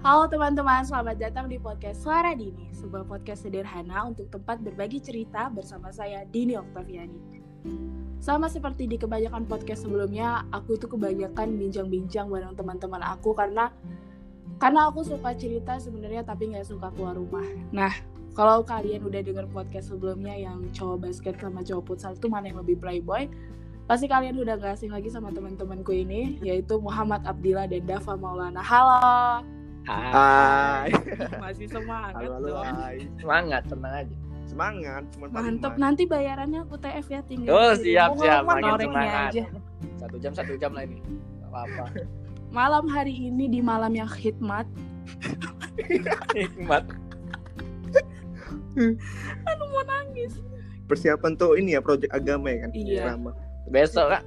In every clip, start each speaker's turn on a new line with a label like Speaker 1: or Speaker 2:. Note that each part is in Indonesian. Speaker 1: Halo teman-teman, selamat datang di podcast Suara Dini, sebuah podcast sederhana untuk tempat berbagi cerita bersama saya Dini Oktaviani. Sama seperti di kebanyakan podcast sebelumnya, aku itu kebanyakan bincang-bincang bareng teman-teman aku karena karena aku suka cerita sebenarnya tapi nggak suka keluar rumah. Nah, kalau kalian udah denger podcast sebelumnya yang cowok basket sama cowok futsal itu mana yang lebih playboy, pasti kalian udah gak asing lagi sama teman-temanku ini yaitu Muhammad Abdillah dan Dava Maulana halo
Speaker 2: Ah,
Speaker 3: Ah. Hai.
Speaker 1: masih semangat
Speaker 3: Halo, halo,
Speaker 1: dong.
Speaker 3: hai.
Speaker 2: Semangat, tenang aja.
Speaker 3: Semangat, cuma tadi
Speaker 1: mantep nah.
Speaker 3: main.
Speaker 1: nanti bayarannya UTF ya tinggal
Speaker 2: Oh,
Speaker 1: kirim
Speaker 2: siap, siap.
Speaker 1: pengalaman
Speaker 2: Makin
Speaker 1: orangnya
Speaker 2: semangat.
Speaker 1: aja
Speaker 2: Satu jam, satu jam lah ini. Gak apa-apa.
Speaker 1: malam hari ini di malam yang hikmat
Speaker 2: Nikmat.
Speaker 1: aduh mau nangis
Speaker 3: Persiapan tuh ini ya proyek agama ya kan?
Speaker 1: Iya.
Speaker 3: Irama.
Speaker 2: Besok, Kak.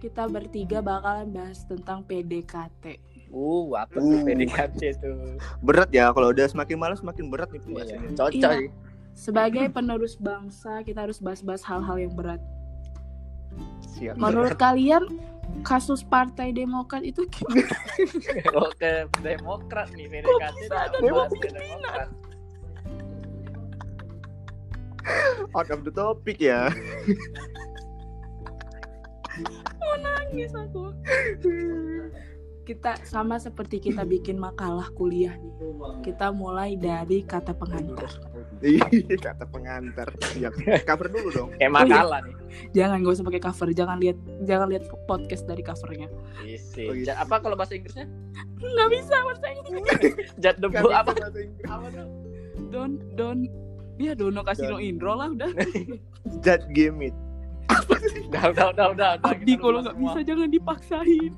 Speaker 1: kita bertiga bakalan bahas tentang PDKT
Speaker 2: Uh, apa
Speaker 3: Uh.
Speaker 2: tuh PDKT tuh?
Speaker 3: Berat ya kalau udah semakin malas semakin berat nih pembahasannya.
Speaker 2: Iya, Cocok.
Speaker 1: Iya. sebagai penerus bangsa kita harus bahas-bahas hal-hal yang berat
Speaker 3: Siap.
Speaker 1: menurut kalian kasus partai demokrat itu gimana?
Speaker 2: Oke, Demokrat nih PDKT.
Speaker 1: bisa
Speaker 2: dah,
Speaker 1: ada
Speaker 2: bahas
Speaker 1: dua
Speaker 2: ke
Speaker 1: pimpinan?
Speaker 2: Demokrat.
Speaker 3: Out of the topic ya.
Speaker 1: mau nangis aku kita sama seperti kita bikin makalah kuliah nih kita mulai dari kata pengantar
Speaker 3: Ih, Iya, Kata pengantar. Siap. Cover dulu dong.
Speaker 2: Kayak makalah nih.
Speaker 1: jangan gak usah pakai cover jangan lihat jangan lihat podcast dari covernya
Speaker 2: Isi.
Speaker 3: Oh, iya.
Speaker 2: Jat- apa kalau bahasa Inggrisnya?
Speaker 1: nggak bisa maksudnya
Speaker 2: Jat debu
Speaker 3: Nggak
Speaker 2: apa?
Speaker 3: bisa bahasa Inggris.
Speaker 2: Apa tuh?
Speaker 1: don don ya dono kasino
Speaker 3: Don.
Speaker 1: indro lah udah
Speaker 3: Jat game it.
Speaker 2: Udah, udah, udah, udah. udah,
Speaker 1: Abdi
Speaker 2: kita
Speaker 1: kalau
Speaker 2: lupa
Speaker 1: nggak
Speaker 2: semua.
Speaker 1: bisa jangan dipaksain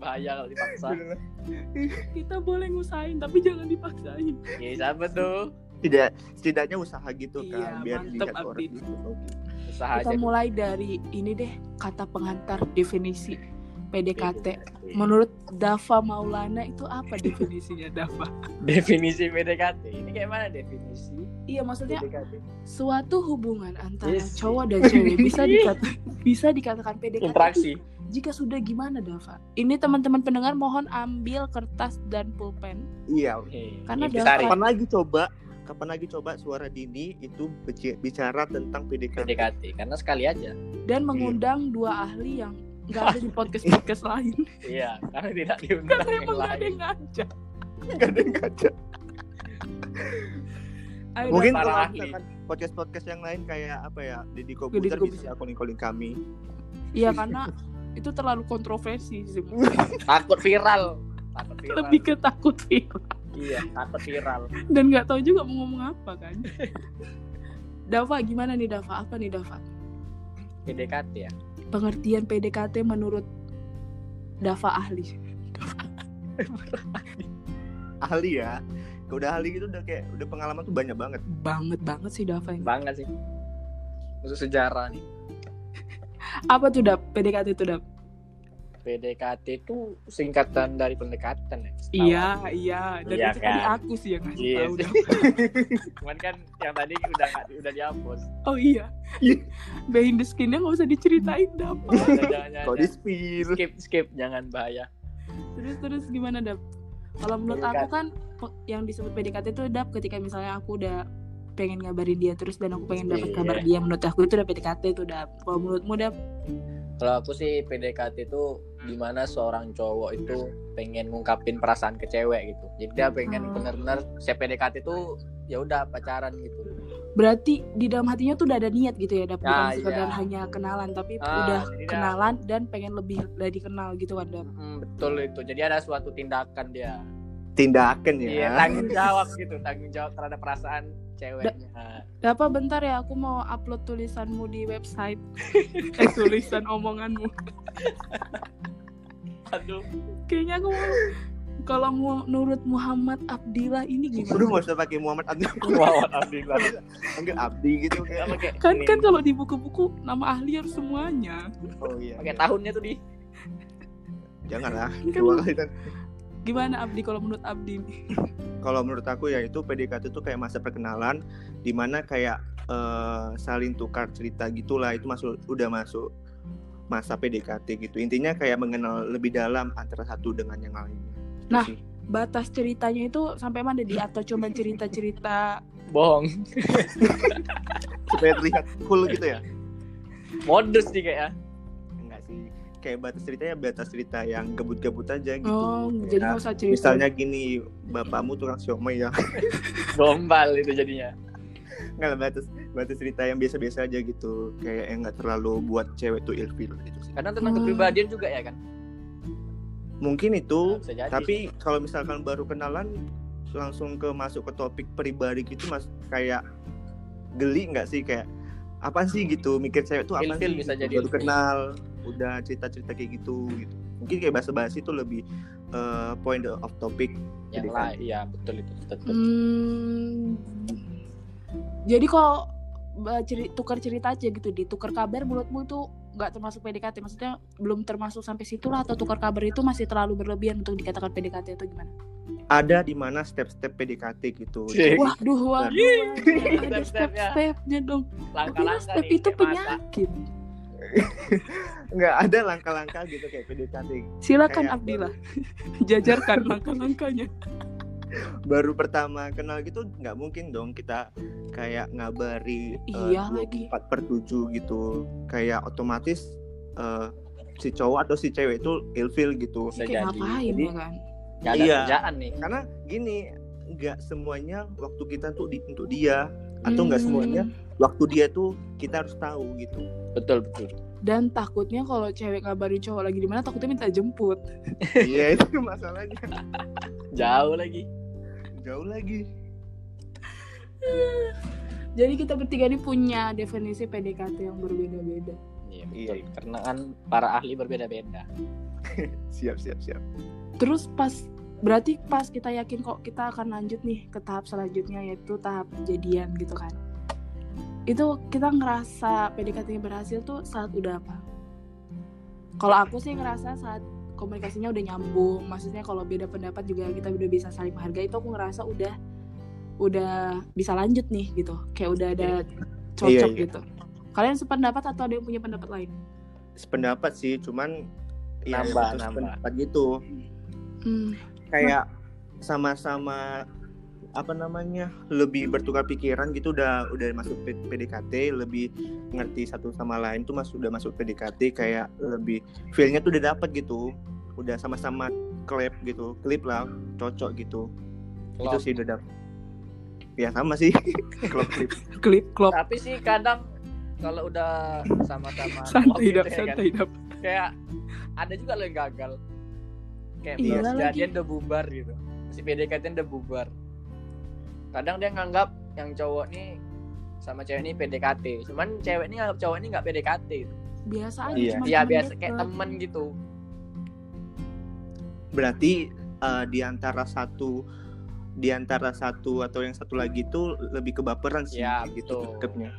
Speaker 2: Bahaya kalau dipaksa.
Speaker 1: kita boleh ngusahain tapi jangan dipaksain
Speaker 2: Iya, siapa tuh?
Speaker 3: Tidak setidaknya usaha gitu kan
Speaker 1: Iya,
Speaker 3: biar
Speaker 1: mantep,
Speaker 3: dilihat
Speaker 1: Abdi.
Speaker 3: orang gitu.
Speaker 2: Usaha
Speaker 1: kita
Speaker 2: aja.
Speaker 1: mulai dari ini deh kata pengantar definisi PDKT
Speaker 2: PDKT.
Speaker 1: menurut Dava Maulana itu apa definisinya Dava
Speaker 2: Definisi PDKT. Ini kayak mana definisi?
Speaker 1: iya maksudnya
Speaker 2: PDKT.
Speaker 1: suatu hubungan antara
Speaker 2: Yes.
Speaker 1: cowok dan cewek bisa dikata, bisa dikatakan PDKT
Speaker 2: Interaksi.
Speaker 1: jika sudah gimana Dava ini teman-teman pendengar mohon ambil kertas dan pulpen
Speaker 3: Iya.
Speaker 1: Karena
Speaker 2: Intisari.
Speaker 3: Kapan lagi coba? Kapan lagi coba suara Dini itu beci- bicara tentang PDKT?
Speaker 2: PDKT karena sekali aja.
Speaker 1: dan mengundang dua ahli yang nggak ada di podcast podcast lain
Speaker 2: Iya, karena tidak diundang
Speaker 1: karena
Speaker 2: yang
Speaker 1: emang nggak ada
Speaker 2: lain.
Speaker 1: yang ngajak
Speaker 3: Nggak ada yang ngajak.
Speaker 1: Ayo,
Speaker 3: mungkin
Speaker 2: para
Speaker 3: kalau
Speaker 2: ahli.
Speaker 3: misalkan podcast-podcast yang lain kayak apa ya
Speaker 1: Deddy
Speaker 3: Deddy Kobuzer
Speaker 1: Corbuzier.
Speaker 3: bisa calling-calling kami
Speaker 1: Iya karena itu terlalu kontroversi sih.
Speaker 2: Iya, Takut viral. Takut viral.
Speaker 1: Lebih ke takut viral.
Speaker 2: Iya, takut viral.
Speaker 1: Dan nggak tahu juga mau ngomong apa kan. Dava gimana nih Dava? Apa nih Dava?
Speaker 2: PDKT ya.
Speaker 1: Pengertian PDKT menurut Dava ahli.
Speaker 3: ahli ya Kalau udah ahli gitu udah kayak udah pengalaman tuh banyak banget
Speaker 1: Banget banget sih Dava ini.
Speaker 2: Banget sih. Untuk sejarah nih.
Speaker 1: Apa tuh Dav? PDKT tuh Dav?
Speaker 2: PDKT itu singkatan dari pendekatan ya. setahu
Speaker 1: Iya, iya. Dan
Speaker 2: Iya
Speaker 1: itu tadi
Speaker 2: kan?
Speaker 1: aku sih yang ngasih
Speaker 2: Iya
Speaker 1: tahu
Speaker 2: sih.
Speaker 1: Dav.
Speaker 2: Cuman kan yang tadi udah nggak- udah dihapus.
Speaker 1: Oh iya.
Speaker 3: Iya.
Speaker 1: Behind the skin-nya nggak usah diceritain Dav.
Speaker 2: Jangan, jangan, jangan.
Speaker 3: kalau di spill
Speaker 2: skip skip jangan bahaya.
Speaker 1: Terus terus gimana Dap? Kalau menurut aku kan pe- yang disebut PDKT itu Dap ketika misalnya aku udah pengen ngabarin dia terus dan aku pengen dapat
Speaker 2: Iya.
Speaker 1: kabar dia menurut aku itu udah PDKT itu Dap. Kalau menurutmu Dap?
Speaker 2: Kalau aku sih PDKT itu dimana seorang cowok itu pengen ngungkapin perasaan ke cewek gitu. Jadi dia pengen
Speaker 1: Hmm.
Speaker 2: bener-bener saya PDKT itu ya udah pacaran gitu.
Speaker 1: Berarti di dalam hatinya tuh udah ada niat gitu ya Dap, bukan
Speaker 2: Ah,
Speaker 1: sekedar
Speaker 2: iya.
Speaker 1: hanya kenalan tapi
Speaker 2: Ah,
Speaker 1: udah
Speaker 2: jadi dia-
Speaker 1: kenalan dan pengen lebih dari kenal gitu kan Dap.
Speaker 2: Mm, betul itu. Jadi ada suatu tindakan dia.
Speaker 3: tindakan ya
Speaker 2: Iya, tanggung jawab gitu, tanggung jawab terhadap perasaan ceweknya. Nah,
Speaker 1: Dapa bentar ya aku mau upload tulisanmu di website. eh tulisan omonganmu.
Speaker 2: Aduh,
Speaker 1: Kayaknya aku mau kalau mu- menurut Muhammad Abdillah ini gimana?
Speaker 3: Udah gak usah pakai Muhammad Abdi
Speaker 2: wow, alhamdulillah.
Speaker 3: Enggak Abdi gitu
Speaker 2: Kita
Speaker 3: kayak
Speaker 2: pakai
Speaker 1: kan
Speaker 2: ini,
Speaker 1: kan kalau di buku-buku nama ahli harus semuanya
Speaker 3: Oh iya
Speaker 2: pakai tahunnya tuh di
Speaker 3: Jangan lah
Speaker 1: Kan-
Speaker 3: Dua kali kan.
Speaker 1: gimana Abdi kalau menurut Abdi nih
Speaker 3: Kalau menurut aku ya itu PDKT itu kayak masa perkenalan Dimana kayak eh, saling tukar cerita gitulah Itu masuk udah masuk masa PDKT gitu Intinya kayak mengenal lebih dalam antara satu dengan yang lainnya Itu
Speaker 1: Nah,
Speaker 3: sih.
Speaker 1: batas ceritanya itu sampai mana di atau cuma cerita-cerita
Speaker 2: bohong
Speaker 3: supaya terlihat cool gitu ya
Speaker 2: modus nih kayak ya
Speaker 3: enggak sih kayak batas ceritanya batas cerita yang gebut-gebut aja gitu
Speaker 1: oh
Speaker 3: Ya,
Speaker 1: jadi nggak usah cerita
Speaker 3: misalnya gini bapakmu tukang siomay ya
Speaker 2: gombal itu jadinya
Speaker 3: nggak lah, batas batas cerita yang biasa-biasa aja gitu kayak yang nggak terlalu buat cewek tuh ilfil gitu sih
Speaker 2: karena tentang
Speaker 1: Hmm.
Speaker 2: kepribadian juga ya kan
Speaker 3: mungkin
Speaker 2: Nah,
Speaker 3: itu
Speaker 2: bisa jadi
Speaker 3: tapi kalau misalkan baru kenalan langsung ke masuk ke topik pribadi gitu mas kayak geli nggak sih kayak apa sih gitu mikir cewek tuh apa
Speaker 2: Ilfil
Speaker 3: sih
Speaker 2: bisa
Speaker 3: gitu.
Speaker 2: jadi
Speaker 3: baru
Speaker 2: ilfil.
Speaker 3: kenal udah cerita-cerita kayak gitu gitu mungkin kayak bahasa-bahasa itu lebih eh, point of topic
Speaker 2: yang
Speaker 3: Jadi
Speaker 1: kan.
Speaker 2: lain iya betul itu betul.
Speaker 1: Hmm. Jadi kok ba- ceri- tukar cerita aja gitu ditukar kabar menurutmu itu nggak termasuk PDKT maksudnya belum termasuk sampai situ lah atau tukar kabar itu masih terlalu berlebihan untuk dikatakan PDKT atau gimana?
Speaker 3: ada di mana step-step PDKT gitu
Speaker 2: Cek.
Speaker 1: Wah, duh, wah, ada
Speaker 2: Step-stepnya.
Speaker 1: step-stepnya dong. Tapi kan
Speaker 2: langkah-langkah
Speaker 1: step
Speaker 2: nih,
Speaker 1: itu
Speaker 2: kayak mata.
Speaker 1: penyakit.
Speaker 3: nggak ada langkah-langkah gitu kayak PDKT
Speaker 1: Silakan
Speaker 3: Kayak
Speaker 1: Abdillah, jajarkan langkah-langkahnya.
Speaker 3: baru pertama kenal gitu nggak mungkin dong kita kayak ngabari eh,
Speaker 1: Iya lagi.
Speaker 3: 24 per 7 gitu kayak otomatis eh, si cowok atau si cewek itu ilfil gitu
Speaker 2: Bisa
Speaker 1: Kayak
Speaker 2: jadi.
Speaker 1: ngapain
Speaker 3: Jadi-
Speaker 1: ya kan?
Speaker 2: Nggak ada
Speaker 3: Iya.
Speaker 2: kerjaan nih
Speaker 3: karena gini nggak semuanya waktu kita tuh di, untuk dia atau nggak ya?
Speaker 1: Hmm.
Speaker 3: semuanya waktu dia tuh kita harus tahu gitu
Speaker 2: betul betul
Speaker 1: Dan takutnya kalau cewek ngabarin cowok lagi di mana takutnya minta jemput.
Speaker 3: iya itu masalahnya
Speaker 2: jauh lagi
Speaker 3: jauh lagi
Speaker 1: Jadi kita bertiga ini punya definisi PDKT yang berbeda-beda.
Speaker 2: iya
Speaker 3: Iya.
Speaker 2: betul karena kan para ahli berbeda-beda
Speaker 3: siap siap siap
Speaker 1: Terus pas berarti pas kita yakin kok kita akan lanjut nih ke tahap selanjutnya yaitu tahap jadian gitu kan. Itu kita ngerasa PDKT-nya berhasil tuh saat udah apa? Kalau aku sih ngerasa saat komunikasinya udah nyambung, maksudnya kalau beda pendapat juga kita udah bisa saling menghargai itu aku ngerasa udah udah bisa lanjut nih gitu. Kayak udah ada cocok
Speaker 3: Iya, iya.
Speaker 1: gitu. Kalian sependapat atau ada yang punya pendapat lain?
Speaker 3: sependapat sih cuman ya,
Speaker 2: Nambah,
Speaker 3: terus
Speaker 2: nambah.
Speaker 3: pendapat gitu
Speaker 1: Hmm,
Speaker 3: kayak sama-sama apa namanya lebih bertukar pikiran gitu udah udah masuk P- PDKT lebih ngerti satu sama lain tuh mas udah masuk PDKT kayak lebih feelnya tuh udah dapet gitu udah sama-sama klip gitu klip lah cocok gitu itu
Speaker 2: Klop.
Speaker 3: sih udah dapet ya sama sih klop klip
Speaker 1: klip klop
Speaker 2: tapi sih kadang kalau udah sama-sama klop
Speaker 1: santai
Speaker 2: gitu
Speaker 1: dap
Speaker 2: ya kan,
Speaker 1: santai dap
Speaker 2: kayak ada juga loh yang gagal kayak
Speaker 1: Iya
Speaker 2: belum
Speaker 1: lagi.
Speaker 2: jadian udah bubar gitu si PDKT udah bubar kadang dia nganggap yang cowok nih sama cewek ini PDKT cuman cewek ini nganggap cowok ini nggak PDKT gitu.
Speaker 1: biasa aja
Speaker 3: Iya.
Speaker 1: cuma
Speaker 2: ya
Speaker 1: temen
Speaker 2: biasa
Speaker 1: deket.
Speaker 2: kayak temen gitu
Speaker 3: berarti eh, di antara satu di antara satu atau yang satu lagi tuh lebih kebaperan sih
Speaker 2: Ya,
Speaker 3: gitu
Speaker 2: betul.
Speaker 3: bentuknya.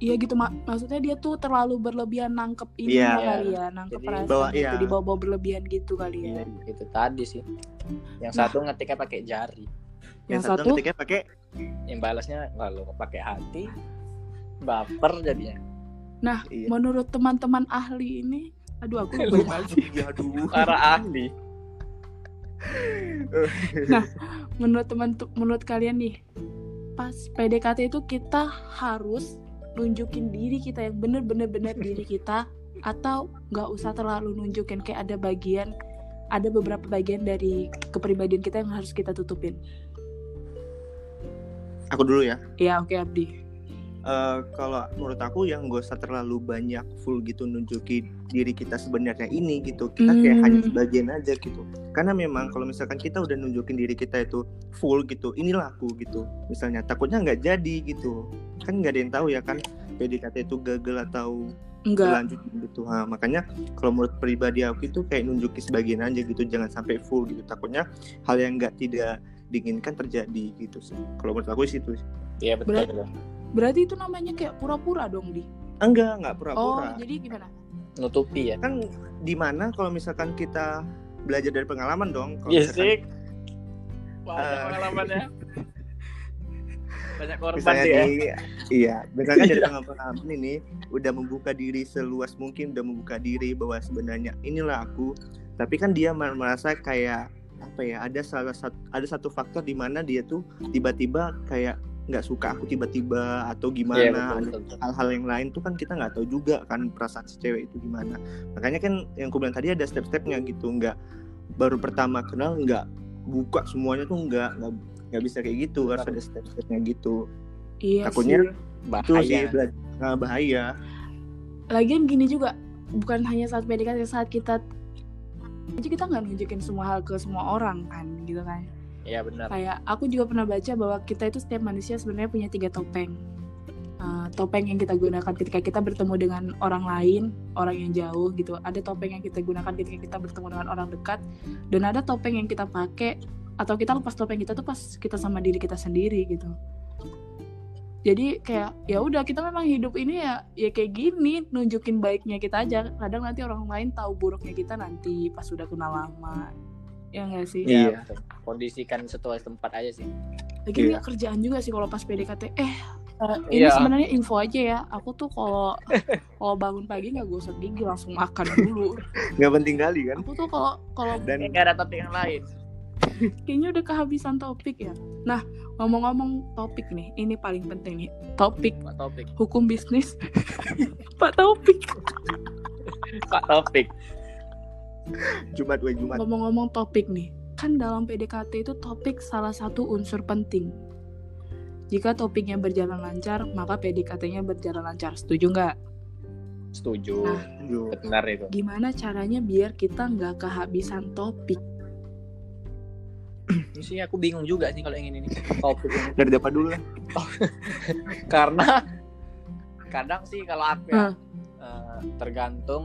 Speaker 1: iya gitu mak- maksudnya dia tuh terlalu berlebihan nangkep ini
Speaker 3: Iya.
Speaker 1: kali ya nangkep
Speaker 2: Jadi,
Speaker 1: perasaan
Speaker 3: bawa-
Speaker 1: itu
Speaker 3: iya.
Speaker 1: dibawa-bawa berlebihan gitu kali ya
Speaker 3: Iya.
Speaker 2: itu tadi sih yang
Speaker 1: Nah.
Speaker 2: satu ngetiknya pakai jari
Speaker 1: yang
Speaker 3: yang satu
Speaker 1: satu
Speaker 3: ketika pakai
Speaker 2: yang balasnya lalu pakai hati baper jadinya
Speaker 3: iya.
Speaker 1: menurut teman-teman ahli ini aduh aku lupa ya.
Speaker 3: Ya aduh.
Speaker 2: para ahli
Speaker 1: menurut teman menurut kalian nih pas PDKT itu kita harus nunjukin diri kita yang bener-bener bener diri kita atau nggak usah terlalu nunjukin kayak ada bagian ada beberapa bagian dari kepribadian kita yang harus kita tutupin
Speaker 3: Aku dulu ya.
Speaker 1: ya oke Abdi
Speaker 3: Eh, kalau menurut aku yang gak usah terlalu banyak full gitu nunjukin diri kita sebenarnya ini gitu. Kita
Speaker 1: Hmm.
Speaker 3: kayak hanya sebagian aja gitu. Karena memang kalau misalkan kita udah nunjukin diri kita itu full gitu, inilah aku gitu. Misalnya takutnya nggak jadi gitu. Kan nggak ada yang tahu ya kan PDKT itu gagal atau
Speaker 1: enggak
Speaker 3: berlanjut gitu. Ha, makanya kalau menurut pribadi aku itu kayak nunjukin sebagian aja gitu, jangan sampai full gitu. Takutnya hal yang nggak tidak diinginkan terjadi gitu sih. Kalau menurut aku sih itu sih.
Speaker 2: iya betul
Speaker 1: Berarti itu namanya kayak pura-pura dong, Di.
Speaker 3: Enggak, enggak
Speaker 1: Oh,
Speaker 3: pura-pura.
Speaker 1: jadi gimana?
Speaker 2: nutupi ya
Speaker 3: kan di mana kalau misalkan kita belajar dari pengalaman dong kalau
Speaker 2: Iya
Speaker 3: misalkan-
Speaker 2: sih. Banyak
Speaker 3: Eh.
Speaker 2: pengalamannya. Banyak korban ya.
Speaker 3: misalnya
Speaker 2: dia.
Speaker 3: di iya misalkan dari pengalaman ini udah membuka diri seluas mungkin udah membuka diri bahwa sebenarnya inilah aku tapi kan dia mer- merasa kayak apa ya ada salah satu ada satu faktor di mana dia tuh tiba-tiba kayak nggak suka aku tiba-tiba atau gimana
Speaker 2: Iya, betul, betul, betul.
Speaker 3: hal-hal yang lain tuh kan kita nggak tahu juga kan perasaan si cewek itu gimana makanya kan yang aku bilang tadi ada step-stepnya gitu nggak baru pertama kenal nggak buka semuanya tuh nggak nggak nggak bisa kayak gitu harus ada step-stepnya gitu
Speaker 1: Iya
Speaker 3: Takutnya
Speaker 1: sih.
Speaker 3: itu sih
Speaker 2: bahaya
Speaker 3: bela- nah, bahaya
Speaker 1: Lagian gini juga bukan hanya saat PDKT saat kita aja kita nggak nunjukin semua hal ke semua orang kan gitu kan.
Speaker 2: iya benar
Speaker 1: Kayak aku juga pernah baca bahwa kita itu setiap manusia sebenarnya punya tiga topeng. Uh, topeng yang kita gunakan ketika kita bertemu dengan orang lain, orang yang jauh gitu. Ada topeng yang kita gunakan ketika kita bertemu dengan orang dekat, dan ada topeng yang kita pakai atau kita lepas topeng kita tuh pas kita sama diri kita sendiri gitu. Jadi kayak ya udah kita memang hidup ini ya ya kayak gini nunjukin baiknya kita aja. Kadang nanti orang lain tahu buruknya kita nanti pas sudah kenal lama. Ya enggak sih?
Speaker 3: Iya.
Speaker 2: Iya, betul. kondisikan setelah tempat aja sih
Speaker 1: Lagi
Speaker 3: Iya.
Speaker 1: nggak kerjaan juga sih kalau pas PDKT. Eh, eh, ini
Speaker 2: Iya.
Speaker 1: sebenarnya info aja ya. Aku tuh kalau kalau bangun pagi nggak gosok gigi langsung makan dulu.
Speaker 3: nggak penting kali kan
Speaker 1: Aku tuh kalau kalau
Speaker 3: dan
Speaker 2: nggak ada topik yang lain
Speaker 1: kayaknya udah kehabisan topik ya. Nah, ngomong-ngomong topik nih, ini paling penting nih. Topik
Speaker 2: pak topik
Speaker 1: hukum bisnis. Pak Topik.
Speaker 2: pak topik
Speaker 3: Jumat we Jumat
Speaker 1: Ngomong-ngomong topik nih. Kan dalam PDKT itu topik salah satu unsur penting. Jika topiknya berjalan lancar, maka PDKT-nya berjalan lancar. Setuju nggak?
Speaker 2: setuju
Speaker 1: Nah.
Speaker 3: Yo.
Speaker 2: benar itu
Speaker 1: gimana caranya biar kita nggak kehabisan topik
Speaker 2: Ini sih aku bingung juga sih kalau ingin ini topik ini
Speaker 3: dari dapat dulu lah
Speaker 2: karena kadang sih kalau aku
Speaker 1: Heeh.
Speaker 2: ya, eh, tergantung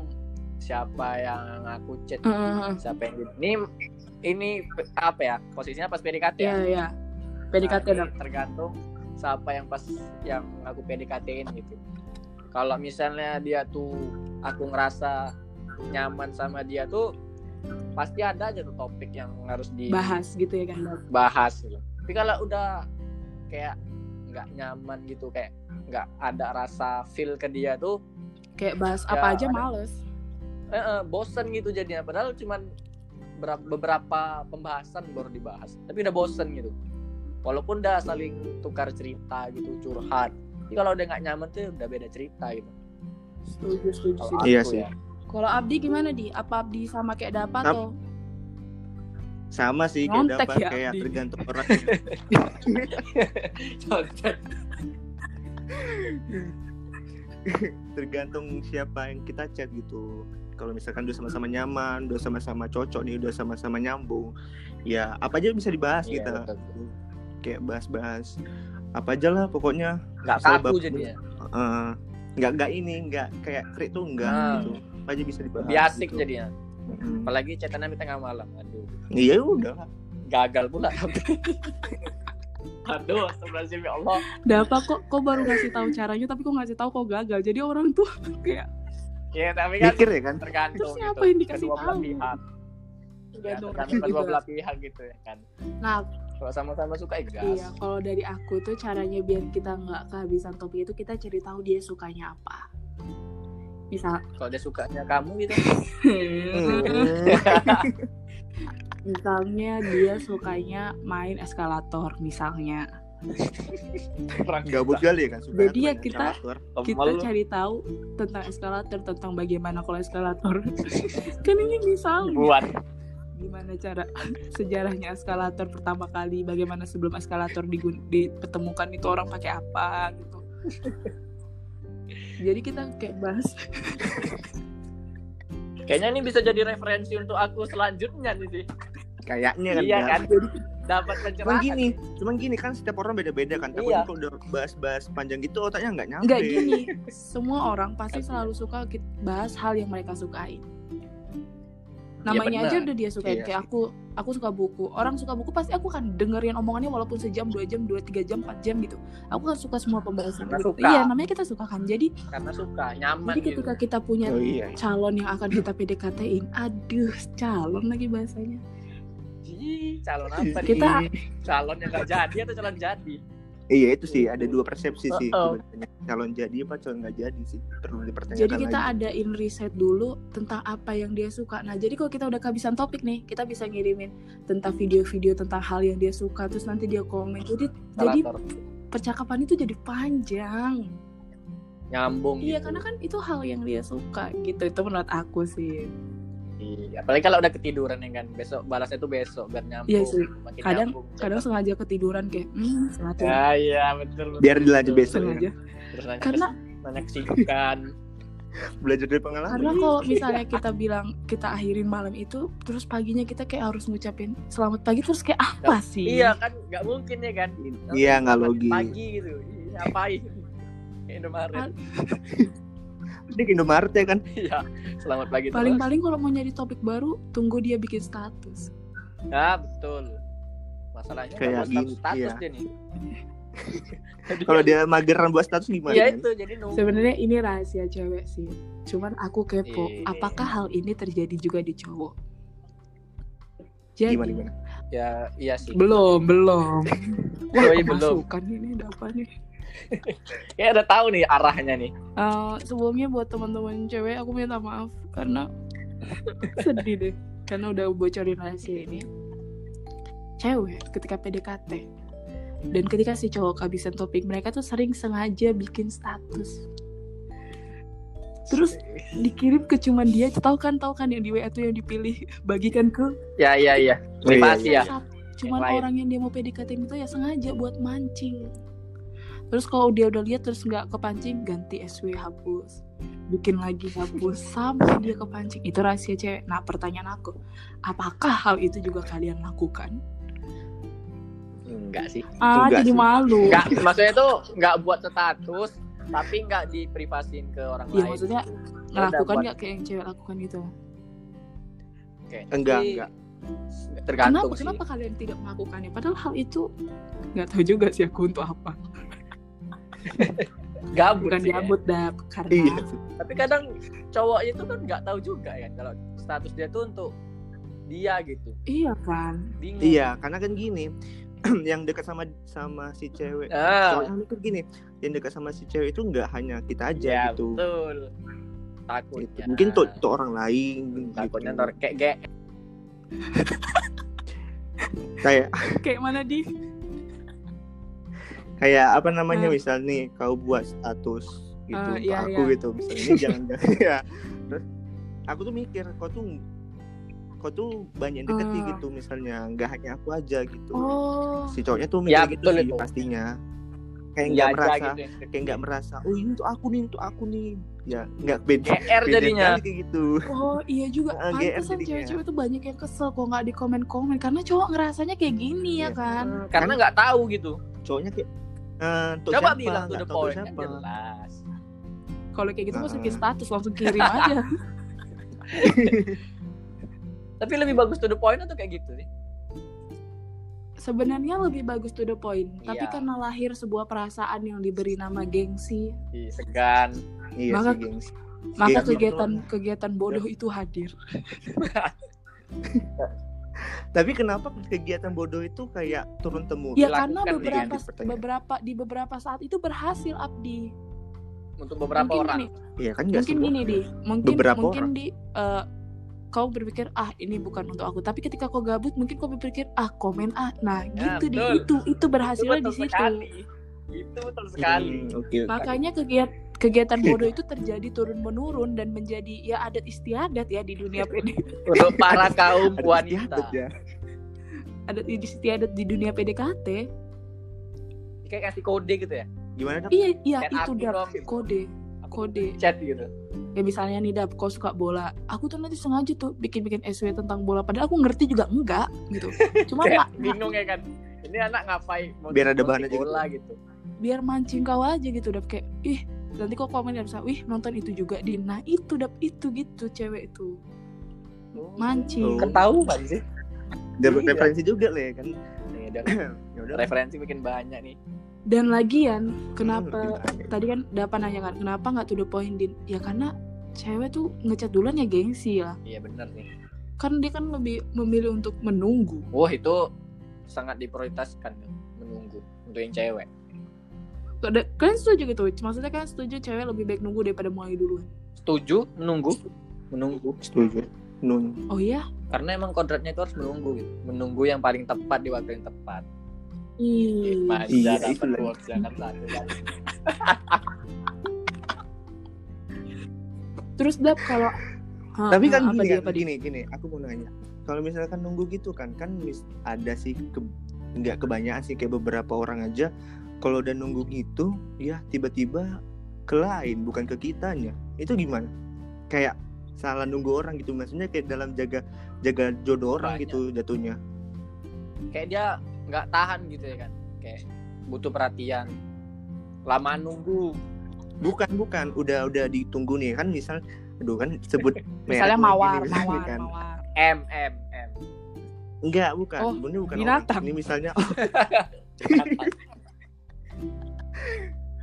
Speaker 2: siapa yang aku chat siapa yang di- ini ini pe- apa ya posisinya pas PDKT
Speaker 1: ya
Speaker 2: ya
Speaker 1: ya PDKT
Speaker 2: Nah,
Speaker 1: dong
Speaker 2: ini tergantung siapa yang pas yang aku PDKT-in gitu kalau misalnya dia tuh aku ngerasa nyaman sama dia tuh pasti ada aja tuh topik yang harus di
Speaker 1: bahas gitu ya kan Dok?
Speaker 2: bahas gitu. Tapi kalau udah kayak nggak nyaman gitu kayak nggak ada rasa feel ke dia tuh
Speaker 1: kayak bahas
Speaker 2: Ya,
Speaker 1: apa aja
Speaker 2: ada.
Speaker 1: males
Speaker 2: eh, eh, bosen gitu jadinya padahal cuman bera- beberapa pembahasan baru dibahas tapi udah bosen gitu walaupun udah saling tukar cerita gitu curhat tapi kalau udah nggak nyaman tuh udah beda cerita gitu
Speaker 1: setuju setuju
Speaker 2: kalau
Speaker 1: setuju.
Speaker 3: Iya
Speaker 2: aku
Speaker 3: sih.
Speaker 2: ya.
Speaker 1: kalau Abdi gimana di apa Abdi sama kayak Dapa
Speaker 3: Ap-
Speaker 1: atau
Speaker 3: sama sih kayak
Speaker 1: Nyontek
Speaker 3: dapat
Speaker 1: ya,
Speaker 3: kayak
Speaker 1: Abdi.
Speaker 3: tergantung orang Iya.
Speaker 2: Contoh.
Speaker 3: tergantung siapa yang kita chat gitu kalau misalkan udah sama-sama nyaman udah sama-sama cocok nih udah sama-sama nyambung ya apa aja bisa dibahas
Speaker 2: Iya,
Speaker 3: gitu
Speaker 2: betul.
Speaker 3: kayak bahas-bahas apa aja lah pokoknya
Speaker 2: nggak
Speaker 3: Sobat
Speaker 2: kaku
Speaker 3: pun.
Speaker 2: jadinya
Speaker 3: eh, nggak nggak ini nggak kayak krik tuh nggak
Speaker 2: Hmm.
Speaker 3: gitu apa aja bisa dibahas
Speaker 2: lebih asik
Speaker 3: gitu.
Speaker 2: jadinya
Speaker 3: Mm.
Speaker 2: apalagi chatannya di tengah malam aduh
Speaker 3: iya udah lah.
Speaker 2: gagal pula. Aduh, astagfirullahaladzim ya Allah.
Speaker 1: Dapa kok kok baru ngasih tahu caranya tapi kok ngasih tahu kok gagal jadi orang tuh kayak
Speaker 2: Ya, tapi kan
Speaker 3: mikir ya kan
Speaker 2: tergantung
Speaker 1: Terus
Speaker 2: gitu.
Speaker 1: ngapain dikasih
Speaker 2: kedua belah
Speaker 1: tahu?
Speaker 2: pihak. Ya,
Speaker 1: tergantung orang
Speaker 2: tergantung kedua
Speaker 1: gitu.
Speaker 2: belah pihak gitu ya kan.
Speaker 1: Nah,
Speaker 2: Kalau sama-sama suka ya gas.
Speaker 1: iya kalau dari aku tuh caranya biar kita nggak kehabisan topik itu kita cari tahu dia sukanya apa. Misal,
Speaker 2: Kalau dia sukanya kamu gitu.
Speaker 3: Hmm.
Speaker 1: misalnya dia sukanya main eskalator misalnya.
Speaker 2: Kurang
Speaker 3: gabut kali ya kan suka
Speaker 1: Jadi ya
Speaker 3: banyak
Speaker 1: kita-
Speaker 3: calator.
Speaker 2: kesel
Speaker 1: kita
Speaker 2: lu.
Speaker 1: cari tahu tentang eskalator tentang bagaimana kalau eskalator kan ini misalnya
Speaker 2: Buat.
Speaker 1: gimana cara sejarahnya eskalator pertama kali bagaimana sebelum eskalator digun- ditemukan itu orang pakai apa gitu jadi kita kayak bahas
Speaker 2: Kayaknya ini bisa jadi referensi untuk aku selanjutnya nih sih.
Speaker 3: kayaknya kan
Speaker 2: iya
Speaker 3: Bang.
Speaker 2: kan. Dapat pencerahan.
Speaker 3: Cuman gini, cuman gini kan setiap orang beda-beda kan. Takutnya
Speaker 2: Iya.
Speaker 3: kalau udah bahas-bahas panjang gitu otaknya nggak nyampe.
Speaker 1: nggak gini semua orang pasti selalu suka ki- bahas hal yang mereka sukai namanya aja
Speaker 2: Iya, benar.
Speaker 1: udah dia sukain
Speaker 3: Iya.
Speaker 1: kayak aku aku suka buku orang suka buku pasti aku kan dengerin omongannya walaupun sejam dua jam dua tiga jam empat jam gitu aku kan suka semua pembahasan
Speaker 2: Karena
Speaker 1: gitu.
Speaker 2: suka.
Speaker 1: iya namanya kita suka kan jadi
Speaker 2: Karena suka,
Speaker 1: jadi
Speaker 2: nyaman gitu.
Speaker 1: ketika kita punya
Speaker 3: Oh iya.
Speaker 1: calon yang akan kita PDKT-in aduh calon lagi bahasanya
Speaker 2: Ih, calon apa nih?
Speaker 1: Kita-
Speaker 2: Calon yang gak jadi atau calon jadi?
Speaker 3: Iya itu sih ada dua persepsi sih
Speaker 2: Uh-oh.
Speaker 3: sebenarnya. calon jadi apa calon nggak jadi sih perlu dipertanyakan
Speaker 1: Jadi kita
Speaker 3: lagi.
Speaker 1: adain riset dulu tentang apa yang dia suka. Nah, jadi kalau kita udah kehabisan topik nih, kita bisa ngirimin tentang video-video tentang hal yang dia suka terus nanti dia komen. Jadi jadi
Speaker 2: Relator.
Speaker 1: percakapan itu jadi panjang.
Speaker 2: nyambung
Speaker 1: Iya,
Speaker 2: gitu.
Speaker 1: karena kan itu hal yang dia suka gitu. Itu menurut aku sih.
Speaker 2: Iya, apalagi kalau udah ketiduran ya kan besok balasnya tuh besok biar nyambung
Speaker 1: Iya sih.
Speaker 2: makin
Speaker 1: Kadang-
Speaker 2: nyambung.
Speaker 1: Kadang sengaja ketiduran kayak, "Hmm, sengaja."
Speaker 2: ya iya betul, betul
Speaker 3: biar dilanjut
Speaker 2: betul.
Speaker 3: besok ya.
Speaker 1: sengaja.
Speaker 2: terus nanya,
Speaker 1: Karena
Speaker 2: terus nanya kesibukan
Speaker 3: belajar dari pengalaman
Speaker 1: Karena kalau misalnya kita bilang kita akhirin malam itu, terus paginya kita kayak harus ngucapin selamat pagi terus kayak apa sih?
Speaker 2: iya kan nggak mungkin ya kan
Speaker 3: iya nggak
Speaker 2: pagi,
Speaker 3: logis
Speaker 2: pagi gitu Iya, ngapain Kayak Indomaret
Speaker 1: Pal-
Speaker 3: di Indomaret ya kan
Speaker 2: iya selamat pagi terus.
Speaker 1: Paling-paling kalau mau nyari topik baru, tunggu dia bikin status.
Speaker 2: nah betul masalahnya nggak buat
Speaker 3: Kayak
Speaker 2: status,
Speaker 3: gini,
Speaker 2: status
Speaker 3: iya.
Speaker 2: dia nih
Speaker 3: kalau dia mageran buat status gimana
Speaker 2: iya
Speaker 3: kan?
Speaker 2: itu jadi nunggu
Speaker 1: Sebenarnya ini rahasia cewek sih. Cuman aku kepo,
Speaker 2: Iya.
Speaker 1: apakah hal ini terjadi juga di cowok? Jadi
Speaker 3: gimana gimana
Speaker 2: ya iya sih
Speaker 1: belum belum. Wah,
Speaker 2: Oh, iya, belum.
Speaker 1: kemasukan ini dapannya.
Speaker 2: ya udah tahu nih arahnya nih
Speaker 1: Eh, sebelumnya buat teman-teman cewek aku minta maaf karena sedih deh karena udah bocorin rahasia ini cewek ketika PDKT dan ketika si cowok kehabisan topik mereka tuh sering sengaja bikin status Terus- dikirim ke cuman dia tahu kan tahu kan yang di WA tuh yang dipilih bagikan ke
Speaker 2: ya ya ya
Speaker 3: Oh, iya,
Speaker 2: privasi ya
Speaker 3: iya.
Speaker 1: WhatsApp. cuman
Speaker 2: Yang lain.
Speaker 1: orang yang dia mau PDKT itu ya sengaja buat mancing terus kalau dia udah lihat terus nggak kepancing ganti SW hapus bikin lagi hapus sampai dia kepancing itu rahasia cewek nah pertanyaan aku apakah hal itu juga kalian lakukan
Speaker 2: enggak sih
Speaker 1: ah
Speaker 3: Enggak
Speaker 1: jadi
Speaker 3: sih.
Speaker 1: malu
Speaker 2: Enggak, maksudnya tuh enggak buat status, tapi enggak diprivasiin ke orang
Speaker 1: Iya,
Speaker 2: lain. Gitu.
Speaker 1: maksudnya melakukan nggak kayak yang cewek lakukan gitu
Speaker 2: Tapi
Speaker 3: Enggak, enggak.
Speaker 1: kenapa
Speaker 2: Tergantung sih.
Speaker 1: Iya. kenapa kalian tidak melakukannya padahal hal itu nggak tahu juga sih aku untuk apa
Speaker 2: Gabut
Speaker 1: bukan
Speaker 2: sih ya.
Speaker 1: diabut dah karena
Speaker 3: iya
Speaker 2: Tapi kadang cowok itu kan enggak tahu juga kan kalau status dia tuh untuk dia gitu.
Speaker 1: iya kan
Speaker 2: Bingung.
Speaker 3: iya karena kan gini yang dekat sama sama si cewek
Speaker 2: Ah.
Speaker 3: soalnya kan gini yang dekat sama si cewek itu nggak hanya kita aja
Speaker 2: Ya,
Speaker 3: gitu
Speaker 2: betul.
Speaker 3: Gitu.
Speaker 2: Takutnya.
Speaker 3: mungkin tuh tuh orang lain
Speaker 2: takutnya
Speaker 3: gitu.
Speaker 2: ntar kayak kayak
Speaker 3: kayak
Speaker 1: kayak mana di
Speaker 3: kayak apa namanya
Speaker 1: Ah.
Speaker 2: Hmm.
Speaker 3: misal nih kau buat status gitu
Speaker 1: Ah,
Speaker 3: untuk
Speaker 1: iya,
Speaker 3: aku
Speaker 1: iya.
Speaker 3: gitu misalnya ini jangan ya terus aku tuh mikir kau tuh kau tuh banyak yang deketi
Speaker 1: Ah.
Speaker 3: gitu misalnya nggak hanya aku aja gitu
Speaker 1: oh
Speaker 3: si cowoknya tuh mikir
Speaker 2: Ya,
Speaker 3: gitu
Speaker 2: betul
Speaker 3: sih
Speaker 2: itu.
Speaker 3: pastinya kayak
Speaker 2: dia
Speaker 3: nggak
Speaker 2: aja
Speaker 3: merasa
Speaker 2: gitu yang
Speaker 3: kayak nggak merasa oh ini untuk aku nih untuk aku nih ya nggak beda
Speaker 2: GR
Speaker 3: beda
Speaker 2: jadinya.
Speaker 1: Iya.
Speaker 3: sekali kayak gitu
Speaker 1: Oh iya juga,
Speaker 3: Ah,
Speaker 1: pantesan
Speaker 3: GR jadinya.
Speaker 1: cewek-cewek tuh banyak yang kesel kok nggak di komen-komen Karena cowok ngerasanya kayak gini ya
Speaker 3: Iya.
Speaker 1: kan
Speaker 2: Hmm, Karena enggak tahu gitu.
Speaker 3: cowoknya kayak eh, untuk
Speaker 2: Coba
Speaker 3: siapa?
Speaker 2: bilang tuh
Speaker 3: Nggak
Speaker 2: the
Speaker 3: tahu untuk
Speaker 2: point kan
Speaker 3: siapa
Speaker 2: jelas.
Speaker 1: Kalau kayak gitu
Speaker 3: Ah.
Speaker 1: masukin status, langsung kirim aja
Speaker 2: Tapi lebih bagus to the point atau kayak gitu sih?
Speaker 1: Sebenarnya lebih bagus to the point Tapi
Speaker 2: Iya.
Speaker 1: karena lahir sebuah perasaan yang diberi nama
Speaker 3: Hmm.
Speaker 1: gengsi
Speaker 2: Ih, segan.
Speaker 3: iya
Speaker 1: Maka-
Speaker 3: sih gengs
Speaker 1: Maka
Speaker 3: Gengsi. Iya.
Speaker 1: kegiatan-kegiatan bodoh itu hadir
Speaker 3: tapi kenapa kegiatan bodoh itu kayak turun temurun
Speaker 1: Ya
Speaker 2: Dilakukan
Speaker 1: karena
Speaker 2: dengan
Speaker 1: beberapa
Speaker 3: dipertanyakan.
Speaker 1: beberapa di beberapa saat itu berhasil Abdi
Speaker 2: Untuk beberapa
Speaker 1: Mungkin
Speaker 2: orang.
Speaker 1: gini,
Speaker 3: Iya kan nggak
Speaker 1: mungkin
Speaker 3: semua.
Speaker 1: gini di mungkin
Speaker 3: Beberapa
Speaker 1: mungkin di eh, kau berpikir ah ini bukan untuk aku tapi ketika kau gabut mungkin kau berpikir ah komen ah nah
Speaker 2: Ya,
Speaker 1: gitu di
Speaker 2: betul.
Speaker 1: itu itu berhasilnya
Speaker 2: Itu
Speaker 1: di
Speaker 2: betul
Speaker 1: situ
Speaker 2: sekali. Itu betul sekali.
Speaker 3: Hmm, Oke. oke.
Speaker 1: makanya kegiatan
Speaker 3: Iya.
Speaker 1: kegiatan bodoh itu terjadi turun menurun dan menjadi ya adat istiadat ya di dunia PD
Speaker 2: Untuk para kaum
Speaker 3: Ada
Speaker 2: wanita.
Speaker 3: istiadat ya.
Speaker 1: adat istiadat di dunia PDKT
Speaker 2: Kayak kasih kode gitu ya.
Speaker 3: Gimana dong?
Speaker 1: iya iya
Speaker 2: Chat
Speaker 1: itu
Speaker 2: aku
Speaker 1: dap
Speaker 2: dong, gitu.
Speaker 1: kode Kode.
Speaker 2: Chat gitu.
Speaker 1: ya misalnya nih dap kau suka bola aku tuh nanti sengaja tuh bikin bikin SW tentang bola padahal aku ngerti juga enggak gitu cuma
Speaker 2: Kayak
Speaker 1: ma-
Speaker 2: bingung ya kan. Ini anak ngapain? Mau
Speaker 3: Biar ada
Speaker 2: mau
Speaker 3: bahan aja
Speaker 2: bola gitu.
Speaker 1: biar mancing kau aja gitu dap kayak ih nanti kok komen dan bisa wih nonton itu juga din nah itu dap itu gitu cewek itu mancing
Speaker 3: Oh.
Speaker 2: Ketahuan sih.
Speaker 3: Dia
Speaker 2: Iya.
Speaker 3: referensi juga lah ya kan.
Speaker 2: Nih, ada
Speaker 3: Ya udah.
Speaker 2: referensi bikin banyak nih.
Speaker 1: dan lagian kenapa
Speaker 3: Hmm,
Speaker 1: tadi kan dapat nanya kan kenapa nggak to the point din ya karena cewek tuh ngechat duluan ya gengsi lah
Speaker 2: Iya bener nih.
Speaker 1: kan dia kan lebih memilih untuk menunggu
Speaker 2: Wah itu sangat diprioritaskan tuh, menunggu untuk yang cewek.
Speaker 1: Ada- Kalian setuju gitu? Maksudnya kalian setuju cewek lebih baik nunggu daripada mulai duluan?
Speaker 2: setuju menunggu menunggu
Speaker 3: setuju nun
Speaker 1: Oh iya?
Speaker 2: karena emang kontraknya itu harus menunggu gitu menunggu yang paling tepat di waktu yang tepat
Speaker 1: Ih,
Speaker 2: Masa
Speaker 3: Iya,
Speaker 2: dapat
Speaker 3: itu lah.
Speaker 2: quotes yang kan satu kan.
Speaker 1: Terus Blab kalau Ha,
Speaker 3: tapi kan
Speaker 1: ha, Ah, apa
Speaker 3: gini,
Speaker 1: dia,
Speaker 3: kan,
Speaker 1: apa dia?
Speaker 3: gini gini aku mau nanya kalau misalkan nunggu gitu kan kan mis- ada sih ke- nggak kebanyakan sih kayak beberapa orang aja kalau udah nunggu
Speaker 1: Hmm.
Speaker 3: gitu ya tiba-tiba ke lain bukan ke kitanya itu gimana kayak salah nunggu orang gitu maksudnya kayak dalam jaga jaga jodoh orang
Speaker 2: Banyak.
Speaker 3: gitu jatuhnya
Speaker 2: kayak dia nggak tahan gitu ya kan kayak butuh perhatian lama nunggu
Speaker 3: bukan bukan udah udah ditunggu nih kan misal aduh kan sebut merek
Speaker 1: Misalnya
Speaker 3: lagi nih,
Speaker 1: mawar,
Speaker 3: misalnya
Speaker 1: mawar,
Speaker 3: kan.
Speaker 1: mawar.
Speaker 2: M M M
Speaker 3: Enggak, bukan.
Speaker 1: Oh,
Speaker 3: Sebenarnya bukan
Speaker 1: binatang.
Speaker 3: orang. Ini misalnya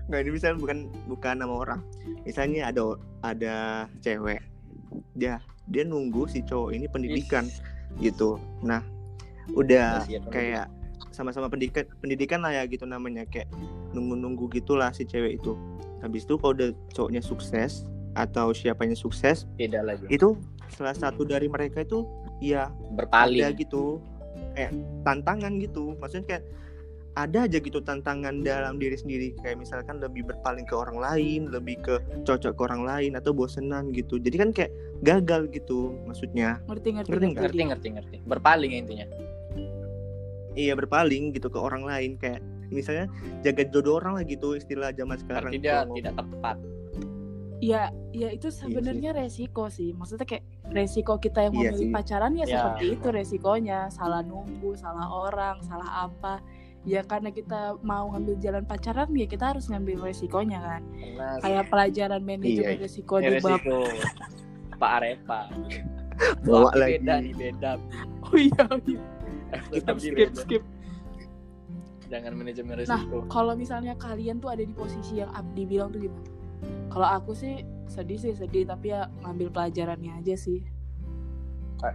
Speaker 3: enggak ini misalnya bukan bukan nama orang. Misalnya ada ada cewek. Dia dia nunggu si cowok ini pendidikan
Speaker 2: Iya,
Speaker 3: gitu. Nah, udah
Speaker 2: Kasihan banget.
Speaker 3: Nah, kayak sama-sama pendidikan pendidikan lah ya gitu namanya kayak nunggu-nunggu gitulah si cewek itu. Habis itu kalau udah cowoknya sukses atau siapanya sukses,
Speaker 2: beda lagi
Speaker 3: itu salah satu dari mereka itu ya ada
Speaker 2: berpaling
Speaker 3: gitu kayak tantangan gitu maksudnya kayak ada aja gitu tantangan dalam diri sendiri kayak misalkan lebih berpaling ke orang lain lebih ke cocok ke orang lain atau bosenan gitu jadi kan kayak gagal gitu maksudnya
Speaker 1: Ngerti, ngerti,
Speaker 3: Ngerti
Speaker 1: ngerti.
Speaker 3: nggak?
Speaker 2: ngerti ngerti ngerti berpaling ya intinya
Speaker 3: iya berpaling gitu ke orang lain kayak misalnya jaga jodoh orang lah gitu istilah zaman sekarang
Speaker 2: berarti
Speaker 3: gitu.
Speaker 2: dia
Speaker 3: Kalau-
Speaker 2: tidak tepat
Speaker 1: Ya, ya
Speaker 3: Iya
Speaker 1: itu sebenarnya resiko sih. Maksudnya kayak resiko kita yang
Speaker 3: Iya
Speaker 1: memilih
Speaker 3: sih.
Speaker 1: pacaran ya,
Speaker 2: Ya.
Speaker 1: seperti itu resikonya. Salah nunggu, salah orang, salah apa. Ya karena kita mau ngambil jalan pacaran ya kita harus ngambil resikonya kan.
Speaker 2: karena
Speaker 1: Kayak pelajaran manajemen
Speaker 3: Iya, iya.
Speaker 1: resiko
Speaker 2: ini
Speaker 1: di bab.
Speaker 2: resiko Pak Arepa
Speaker 3: Bawa
Speaker 2: Tapi
Speaker 3: lagi.
Speaker 2: beda nih beda
Speaker 1: Oh iya, oh iya. Kita
Speaker 2: Tapi
Speaker 1: skip,
Speaker 2: beda.
Speaker 1: skip.
Speaker 2: jangan manajemen resiko
Speaker 1: Kalau misalnya kalian tuh ada di posisi yang Abdi bilang tuh gimana? Kalau aku sih sedih sih sedih tapi ya ngambil pelajarannya aja sih.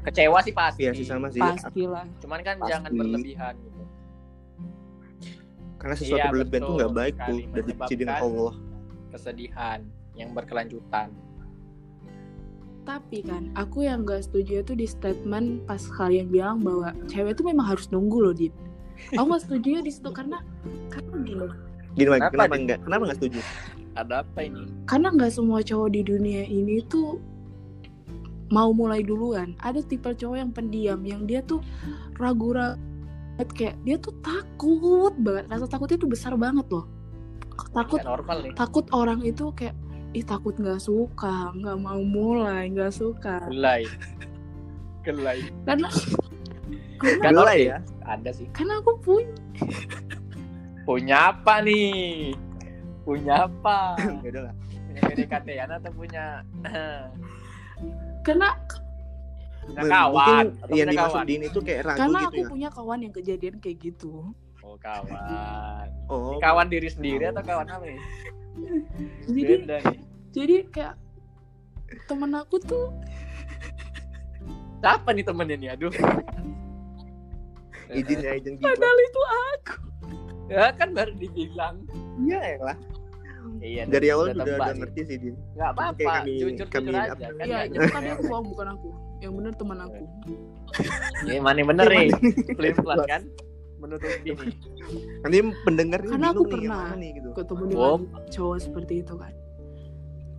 Speaker 2: kecewa sih pasti
Speaker 3: iya sih sama sih
Speaker 1: Pastilah.
Speaker 2: cuman kan
Speaker 3: Pasti.
Speaker 2: jangan berlebihan gitu
Speaker 3: karena sesuatu
Speaker 2: Iya,
Speaker 3: berlebihan tuh
Speaker 2: betul
Speaker 3: nggak baik tuh
Speaker 2: sekali.
Speaker 3: dari dibenci dengan
Speaker 2: Menyebabkan-
Speaker 3: Allah
Speaker 2: kesedihan yang berkelanjutan
Speaker 1: Tapi kan aku yang gak setuju itu di statement pas kalian bilang bahwa cewek tuh memang harus nunggu loh, Dit. Aku gak setuju ya di situ karena karena gini,
Speaker 3: gini
Speaker 2: Kenapa,
Speaker 3: Mike, kenapa
Speaker 2: Dit?
Speaker 3: nggak kenapa nggak setuju
Speaker 2: ada apa ini
Speaker 1: karena nggak semua cowok di dunia ini tuh mau mulai duluan. Ada tipe cowok yang pendiam, yang dia tuh ragu-ragu banget, kayak dia tuh takut banget. Rasa takutnya tuh besar banget loh. Takut
Speaker 2: Nggak normal nih
Speaker 1: takut orang itu kayak ih takut nggak suka, nggak mau mulai, nggak suka.
Speaker 2: gelai gelai
Speaker 1: Karena
Speaker 2: Nggak
Speaker 3: Gelai
Speaker 2: normal
Speaker 3: ya?
Speaker 2: ada sih
Speaker 1: karena aku punya
Speaker 2: punya apa nih punya apa
Speaker 3: ya udahlah
Speaker 2: punya PDKT atau punya
Speaker 1: karena
Speaker 2: punya
Speaker 3: mungkin
Speaker 2: Nah, kawan atau
Speaker 3: yang
Speaker 2: punya
Speaker 3: dimaksud
Speaker 2: kawan
Speaker 3: Dini itu kayak ragu
Speaker 1: Karena
Speaker 3: gitu
Speaker 1: aku
Speaker 3: ya
Speaker 1: punya kawan yang kejadian kayak gitu.
Speaker 2: oh kawan
Speaker 3: oh
Speaker 2: kawan diri sendiri atau kawan apa nih
Speaker 1: Jadi
Speaker 2: beda nih
Speaker 1: jadi kayak temen aku tuh
Speaker 2: siapa nih temennya nih aduh
Speaker 3: izin ya izin gitu
Speaker 1: padahal itu aku.
Speaker 2: ya kan baru dibilang
Speaker 3: iya lah
Speaker 2: iya
Speaker 3: dari awal udah
Speaker 2: udah
Speaker 3: udah
Speaker 2: tebak sih.
Speaker 3: ngerti sih Din
Speaker 2: nggak
Speaker 3: Kayak
Speaker 2: apa-apa
Speaker 3: kami-
Speaker 2: jujur
Speaker 3: kami
Speaker 2: jujur aja
Speaker 3: apa
Speaker 2: kan
Speaker 1: Iya,
Speaker 2: nggak
Speaker 1: itu
Speaker 2: jauh
Speaker 1: kan
Speaker 2: dari-
Speaker 1: aku bohong, bukan aku. Yang bener teman aku.
Speaker 2: Iya, mana yang bener nih. Pelin pelan kan. Menutupi nih.
Speaker 3: nanti pendengar ini
Speaker 1: Karena aku
Speaker 3: bingung nih, yang
Speaker 1: pernah.
Speaker 3: mana nih gitu
Speaker 1: Ketemu
Speaker 2: Wow.
Speaker 1: dengan cowok seperti itu kan.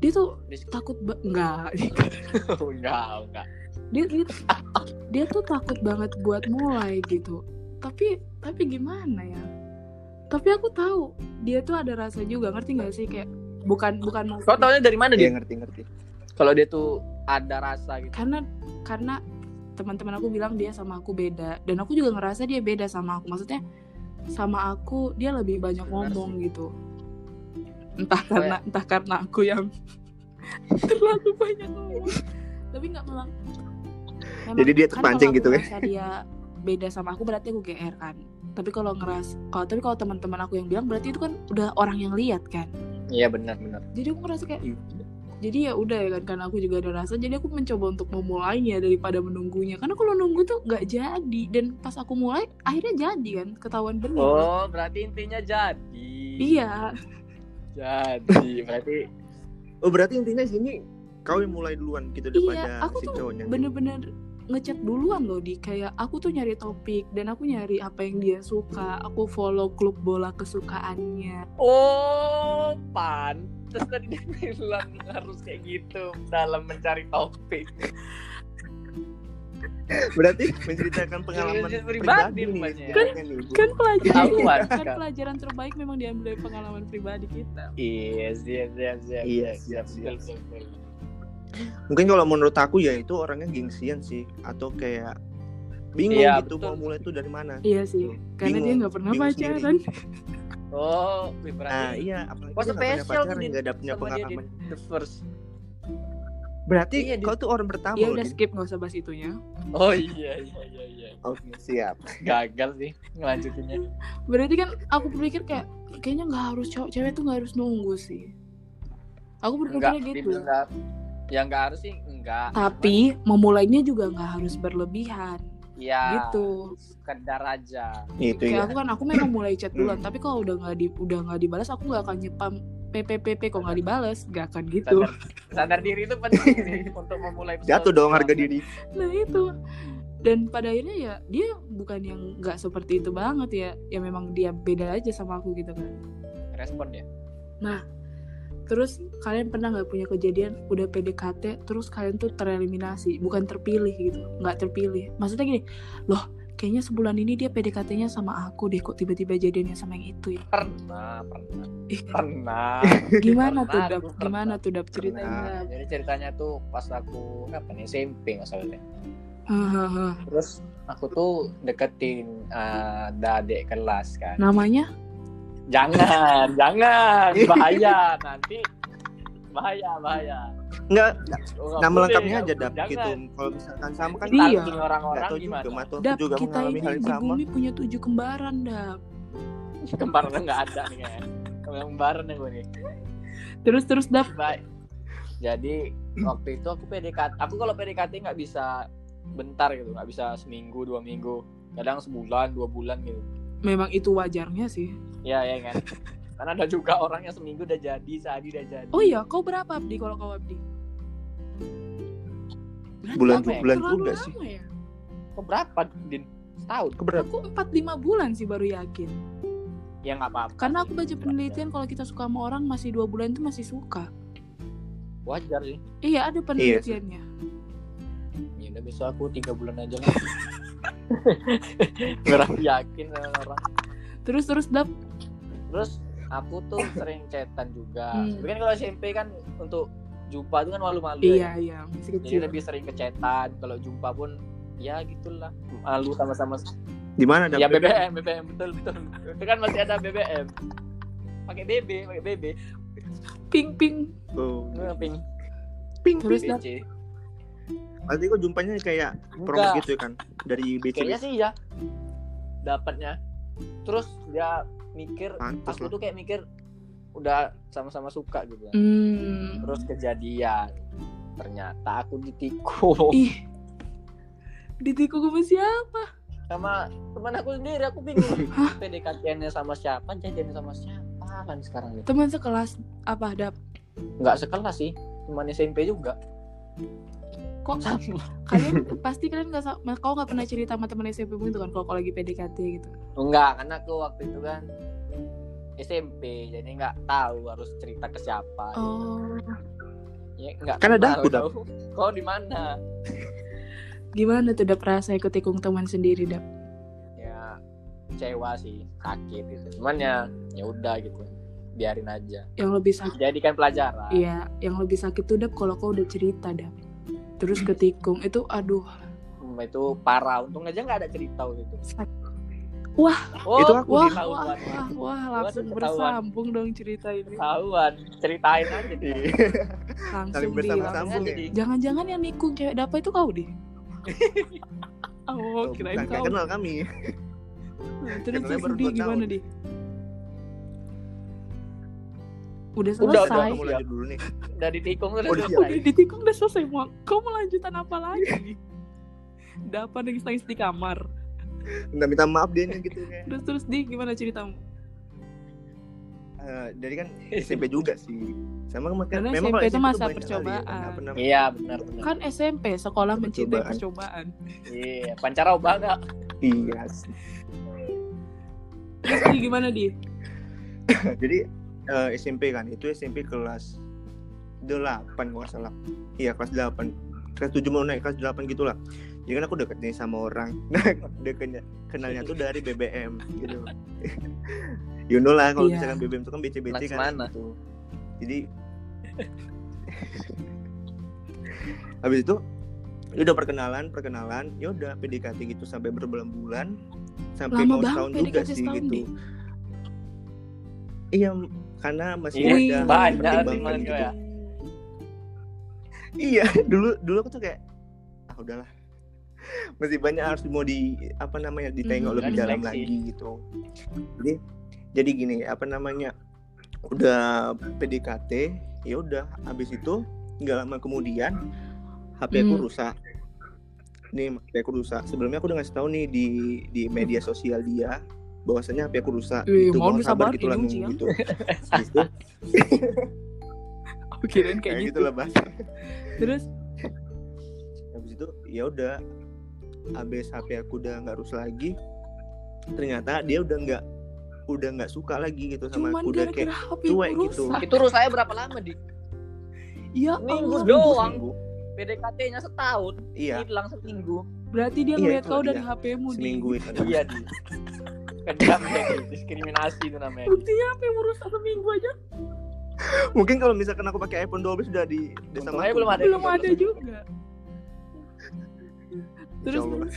Speaker 1: Dia tuh takut ba- enggak.
Speaker 2: enggak, enggak.
Speaker 1: Dia, dia dia tuh takut banget buat mulai gitu. Tapi tapi gimana ya? Tapi aku tahu dia tuh ada rasa juga, ngerti gak sih kayak bukan bukan
Speaker 2: Kau
Speaker 1: maksud-
Speaker 2: taunya dari mana
Speaker 3: iya
Speaker 2: dia?
Speaker 3: ngerti ngerti
Speaker 2: Kalau dia tuh ada rasa gitu.
Speaker 1: karena karena teman-teman aku bilang dia sama aku beda dan aku juga ngerasa dia beda sama aku maksudnya sama aku dia lebih banyak
Speaker 2: Benar
Speaker 1: ngomong gitu entah karena entah karena aku yang terlalu banyak ngomong tapi nggak memang memang-
Speaker 3: Jadi dia
Speaker 1: kan
Speaker 3: terpancing
Speaker 1: kalau
Speaker 3: gitu
Speaker 1: aku
Speaker 3: ya?
Speaker 1: ngerasa dia beda sama aku berarti aku GR kan tapi kalau ngeras kalau tapi kalau teman-teman aku yang bilang berarti itu kan udah orang yang lihat kan
Speaker 2: Iya benar benar.
Speaker 1: jadi aku ngerasa kayak jadi ya udah ya kan karena aku juga ada rasa jadi aku mencoba untuk memulainya daripada menunggunya karena kalau nunggu tuh nggak jadi dan pas aku mulai akhirnya jadi kan ketahuan bener
Speaker 2: Oh, berarti intinya jadi.
Speaker 1: Iya.
Speaker 2: Jadi berarti
Speaker 3: Oh berarti intinya sini kau yang mulai duluan gitu
Speaker 1: Iya,
Speaker 3: daripada
Speaker 1: aku
Speaker 3: si
Speaker 1: tuh
Speaker 3: cowoknya.
Speaker 1: bener-bener ngechat duluan loh di kayak aku tuh nyari topik dan aku nyari apa yang dia suka aku follow klub bola kesukaannya
Speaker 2: oh pantes tadi dia bilang harus kayak gitu dalam mencari topik.
Speaker 3: Berarti menceritakan pengalaman
Speaker 2: Cerita Iya, pribadi
Speaker 3: pribadi nih. ya. Iya,
Speaker 2: rupanya.
Speaker 3: sebenarnya nih, Bu.
Speaker 1: kan
Speaker 2: Ketahuan,
Speaker 1: pelajaran kan
Speaker 2: Kak.
Speaker 1: pelajaran terbaik memang diambil dari pengalaman pribadi kita
Speaker 2: Iya, siap, siap, siap.
Speaker 3: Iya, siap,
Speaker 2: Betul,
Speaker 3: siap.
Speaker 2: betul, betul.
Speaker 3: Mungkin kalau menurut aku ya itu orangnya gengsian sih atau kayak bingung
Speaker 2: Iya,
Speaker 3: gitu
Speaker 2: betul.
Speaker 3: mau mulai tuh dari mana.
Speaker 1: iya sih karena
Speaker 3: Bingung,
Speaker 1: dia nggak pernah
Speaker 3: bingung
Speaker 1: pacaran
Speaker 2: Oh, wih,
Speaker 3: Nah,
Speaker 2: berarti
Speaker 3: iya apalagi
Speaker 2: Wah,
Speaker 3: dia nggak punya
Speaker 2: spesial
Speaker 3: pacaran, ya,
Speaker 2: tuh di-
Speaker 3: nggak ada punya
Speaker 2: sama dia
Speaker 3: pengalaman.
Speaker 2: di the first.
Speaker 3: Berarti
Speaker 2: Iya, di-
Speaker 3: kau tuh orang pertama
Speaker 1: ya
Speaker 3: loh.
Speaker 1: udah
Speaker 3: Din.
Speaker 1: skip nggak usah bahas itunya
Speaker 2: Oh iya, iya, iya, iya.
Speaker 3: Oke, Oh, siap.
Speaker 2: Gagal sih ngelanjutinnya.
Speaker 1: berarti kan aku berpikir kayak kayaknya nggak harus cowok cewek tuh nggak harus nunggu sih aku
Speaker 2: Enggak,
Speaker 1: berpikirnya gitu
Speaker 2: dibilang enggak. Yang enggak harus sih enggak.
Speaker 1: tapi memulainya juga nggak harus berlebihan
Speaker 2: ya
Speaker 1: gitu
Speaker 2: sekedar aja.
Speaker 3: Itu
Speaker 1: kayak
Speaker 3: ya.
Speaker 1: aku kan aku memang mulai chat duluan
Speaker 2: Hmm.
Speaker 1: tapi kalau udah nggak di udah nggak dibalas aku nggak akan nyepam PPPP kok nggak dibalas nggak akan gitu
Speaker 2: Sadar, sadar diri itu penting sih untuk memulai
Speaker 3: Jatuh dong harga
Speaker 2: persoalan.
Speaker 3: diri.
Speaker 1: nah itu dan pada akhirnya ya dia bukan yang nggak seperti itu banget ya ya memang dia beda aja sama aku gitu kan
Speaker 2: Respon ya.
Speaker 1: terus kalian pernah nggak punya kejadian udah PDKT terus kalian tuh tereliminasi bukan terpilih gitu nggak terpilih maksudnya gini loh kayaknya sebulan ini dia PDKT-nya sama aku deh kok tiba-tiba jadiannya sama yang itu ya
Speaker 2: Pernah, pernah.
Speaker 1: Ih.
Speaker 2: Pernah.
Speaker 1: gimana tuh
Speaker 2: Pernah,
Speaker 1: dap
Speaker 2: aku pernah.
Speaker 1: gimana tuh dap ceritanya
Speaker 3: Pernah.
Speaker 2: Jadi ceritanya tuh pas aku kapan ya, SMP nggak salah deh.
Speaker 1: Hahaha.
Speaker 2: Terus aku tuh deketin eh, ada adik kelas kan.
Speaker 1: namanya
Speaker 2: Jangan, jangan, bahaya nanti bahaya bahaya.
Speaker 3: Enggak,
Speaker 2: Oh, nggak
Speaker 3: nama
Speaker 2: boleh,
Speaker 3: lengkapnya
Speaker 2: nggak
Speaker 3: Nah, aja
Speaker 2: boleh,
Speaker 3: dap gitu.
Speaker 2: jangan.
Speaker 3: Kalau misalkan sama kan
Speaker 1: Iya.
Speaker 2: Tanting orang-orang
Speaker 3: Enggak tahu
Speaker 2: gimana?
Speaker 3: juga, Matu
Speaker 1: Dap,
Speaker 3: juga
Speaker 1: kita
Speaker 3: mengalami
Speaker 1: ini
Speaker 3: hal yang
Speaker 1: di
Speaker 3: sama.
Speaker 1: bumi punya tujuh kembaran, Dap.
Speaker 2: Kembarannya nggak ada nih kayaknya. Kembaran gue nih.
Speaker 1: Terus terus Dap.
Speaker 2: Baik. Jadi waktu itu aku PDKT, aku kalau PDKT nggak bisa bentar gitu, nggak bisa seminggu dua minggu, kadang sebulan dua bulan gitu.
Speaker 1: Memang itu wajarnya sih.
Speaker 2: Ya ya kan. Karena ada juga orang yang seminggu udah jadi, sehari udah jadi.
Speaker 1: Oh iya, kau berapa Abdi kalau kau Abdi? Berarti
Speaker 3: Bulan
Speaker 1: aku
Speaker 3: bulan
Speaker 1: terlalu
Speaker 3: juga
Speaker 1: lama
Speaker 3: sih.
Speaker 1: Ya?
Speaker 2: Kok berapa din? Setahun?
Speaker 3: Keberat.
Speaker 1: Aku 4-5 bulan sih baru yakin.
Speaker 2: Ya nggak apa-apa.
Speaker 1: Karena aku
Speaker 2: sih.
Speaker 1: baca penelitian kalau kita suka sama orang masih dua bulan itu masih suka.
Speaker 2: Wajar sih.
Speaker 1: Iya, ada penelitiannya.
Speaker 2: Ya udah besok aku tiga bulan aja lah. Berapa yakin sama orang.
Speaker 1: Terus terus Dap.
Speaker 2: Terus aku tuh sering chatan juga.
Speaker 1: Hmm.
Speaker 2: Mungkin kalau SMP kan untuk jumpa itu kan malu-malu. ya.
Speaker 1: Iya, iya, masih
Speaker 2: Jadi
Speaker 1: kecil.
Speaker 2: lebih sering kecetan. Kalau jumpa pun ya gitulah malu sama-sama.
Speaker 3: Di mana dap?
Speaker 2: Ya BBM, BBM betul betul. Itu kan masih ada BBM. Pakai BB, pakai BB.
Speaker 1: Ping ping.
Speaker 3: Oh.
Speaker 1: Iya.
Speaker 2: Ngeping.
Speaker 3: Ping
Speaker 1: Terus
Speaker 3: ping.
Speaker 1: Dap.
Speaker 2: BC.
Speaker 3: Berarti kok jumpanya kayak promo
Speaker 2: Enggak.
Speaker 3: gitu ya kan dari BC.
Speaker 2: Kayaknya sih ya dapatnya. Terus dia mikir
Speaker 3: Pantas
Speaker 2: aku
Speaker 3: lah.
Speaker 2: tuh kayak mikir udah sama-sama suka gitu kan.
Speaker 1: Hmm.
Speaker 2: terus kejadian ternyata aku ditikung
Speaker 1: Ih. Ditikung sama siapa?
Speaker 2: sama teman aku sendiri aku bingung PDKT-nya sama siapa jadian sama siapa kan sekarang nih
Speaker 1: Teman sekelas apa Dap?
Speaker 2: nggak sekelas sih teman SMP juga
Speaker 1: Kok
Speaker 2: sama
Speaker 1: kalian pasti kalian nggak sa- kau nggak pernah cerita sama teman SMP mu gitu kan kalau kau lagi PDKT gitu
Speaker 2: enggak karena aku waktu itu kan SMP jadi nggak tahu harus cerita ke siapa
Speaker 1: oh
Speaker 2: ya nggak
Speaker 3: Kan ada
Speaker 2: kenal
Speaker 3: aku, Dap.
Speaker 2: tahu. kau di mana
Speaker 1: gimana tuh dap rasa ikut tikung teman sendiri dap
Speaker 2: ya kecewa sih sakit gitu cuman ya ya udah gitu biarin aja
Speaker 1: yang lebih sakit
Speaker 2: jadikan pelajaran
Speaker 1: ya yang lebih sakit tuh dap kalau kau udah cerita dap terus
Speaker 3: Hmm.
Speaker 1: ketikung itu aduh
Speaker 2: Hmm, itu parah untung aja nggak ada cerita waktu itu
Speaker 1: sakit.
Speaker 2: oh,
Speaker 3: Itu aku
Speaker 1: wah
Speaker 2: ketahuan.
Speaker 1: wah wah wah langsung
Speaker 2: Waduh, ketahuan.
Speaker 1: bersambung dong cerita ini
Speaker 2: ketahuan ceritain aja dia.
Speaker 1: langsung
Speaker 3: Saling
Speaker 1: di
Speaker 3: bersama-sama
Speaker 2: langsung
Speaker 3: Iya. ya.
Speaker 2: di-
Speaker 1: jangan-jangan yang nikung cewek dapa itu kau deh oh
Speaker 3: Oh,
Speaker 1: kirain
Speaker 3: bukan, nggak
Speaker 1: kau
Speaker 3: kenal kami.
Speaker 1: Nah, terus
Speaker 3: Kenalnya
Speaker 1: terus
Speaker 3: baru
Speaker 1: di
Speaker 3: dua
Speaker 1: gimana
Speaker 3: tahun.
Speaker 1: di udah
Speaker 2: Udah,
Speaker 1: selesai
Speaker 2: udah,
Speaker 3: Kamu lanjut dulu nih.
Speaker 2: udah ditikung udah
Speaker 3: Oh, iya.
Speaker 1: udah
Speaker 2: selesai
Speaker 1: ditikung udah selesai mau kau mau lanjutan apa lagi dapat nangis-nangis di kamar
Speaker 3: Nggak minta maaf dia nih gitu kayak.
Speaker 1: terus terus di gimana ceritamu
Speaker 3: eh, dari kan SMP juga sih. Sama makan
Speaker 1: Karena SMP
Speaker 3: memang kalau
Speaker 1: itu
Speaker 3: SMP
Speaker 1: masa
Speaker 3: tuh banyak kali ya,
Speaker 1: percobaan.
Speaker 3: nggak pernah-
Speaker 2: Iya benar benar.
Speaker 1: Kan SMP, sekolah mencintai
Speaker 3: Percobaan.
Speaker 1: percobaan.
Speaker 2: Iya, pancarau banget.
Speaker 3: Iya.
Speaker 1: Terus Di gimana, Di?
Speaker 3: Jadi eh, SMP kan itu SMP kelas 8 kalau nggak salah. Iya, kelas 8. Kelas 7 mau naik kelas 8 gitulah. Jadi kan aku deketnya sama orang. Nah, deketnya kenalnya tuh dari BBM gitu. you know lah kalau
Speaker 1: Iya.
Speaker 3: misalkan BBM itu kan BC-BC
Speaker 2: Anak
Speaker 3: kan.
Speaker 2: mana?
Speaker 3: gitu. Jadi habis itu ya udah perkenalan perkenalan ya udah PDKT gitu sampai berbulan-bulan sampai
Speaker 1: Lama
Speaker 3: mau
Speaker 1: banget
Speaker 3: setahun juga
Speaker 1: PDKT
Speaker 3: sih
Speaker 1: setahun,
Speaker 3: gitu
Speaker 1: Dik.
Speaker 3: iya m- karena masih
Speaker 1: Iya,
Speaker 3: ada
Speaker 2: banyak
Speaker 3: pertimbangan
Speaker 2: pertimbangan
Speaker 3: gitu.
Speaker 2: ya.
Speaker 3: iya dulu dulu aku tuh kayak ah udahlah masih banyak harus mau di apa namanya ditengok
Speaker 1: Mhm.
Speaker 3: lebih
Speaker 2: Dan
Speaker 3: dalam
Speaker 2: seleksi.
Speaker 3: lagi gitu jadi jadi gini apa namanya udah PDKT ya udah habis itu nggak lama kemudian HP aku
Speaker 1: Hmm.
Speaker 3: rusak nih HP aku rusak sebelumnya aku udah ngasih tahu nih di di media sosial dia bahwasanya HP aku rusak
Speaker 1: Wih,
Speaker 3: gitu
Speaker 1: mohon
Speaker 3: mohon sabar
Speaker 1: bersabar,
Speaker 3: gitu lah
Speaker 1: Inung,
Speaker 3: Nung,
Speaker 1: Jiang.
Speaker 3: gitu Habis itu,
Speaker 1: Aku kirain
Speaker 3: kayak
Speaker 1: kayak
Speaker 3: gitu
Speaker 1: gitu.
Speaker 3: lah bahasa
Speaker 1: Terus,
Speaker 3: habis itu ya udah habis HP aku udah nggak rusak lagi ternyata dia udah nggak udah nggak suka lagi gitu
Speaker 1: cuman
Speaker 3: sama aku udah kayak
Speaker 1: gara-gara HP
Speaker 3: cuek
Speaker 1: ku
Speaker 3: gitu.
Speaker 1: rusak.
Speaker 2: Itu rusaknya berapa lama, Dik?
Speaker 1: Ya
Speaker 2: Minggu
Speaker 1: Allah.
Speaker 2: doang.
Speaker 3: seminggu.
Speaker 2: PDKT-nya setahun,
Speaker 3: iya
Speaker 2: hilang seminggu.
Speaker 1: Berarti dia
Speaker 3: Iya,
Speaker 1: ngeliat
Speaker 3: itu
Speaker 1: kau
Speaker 3: dia.
Speaker 1: dari HP-mu, Di.
Speaker 3: seminggu itu
Speaker 2: Iya, Dik. Kejam ya, Dik. diskriminasi itu namanya.
Speaker 1: Buktinya HP mu rusak seminggu aja.
Speaker 3: mungkin kalau misalkan aku pakai iPhone 12 sudah di udah sama
Speaker 2: Untungnya
Speaker 3: aku.
Speaker 2: belum ada.
Speaker 1: Belum ada juga.
Speaker 3: Insya
Speaker 1: Terus,
Speaker 3: Allah.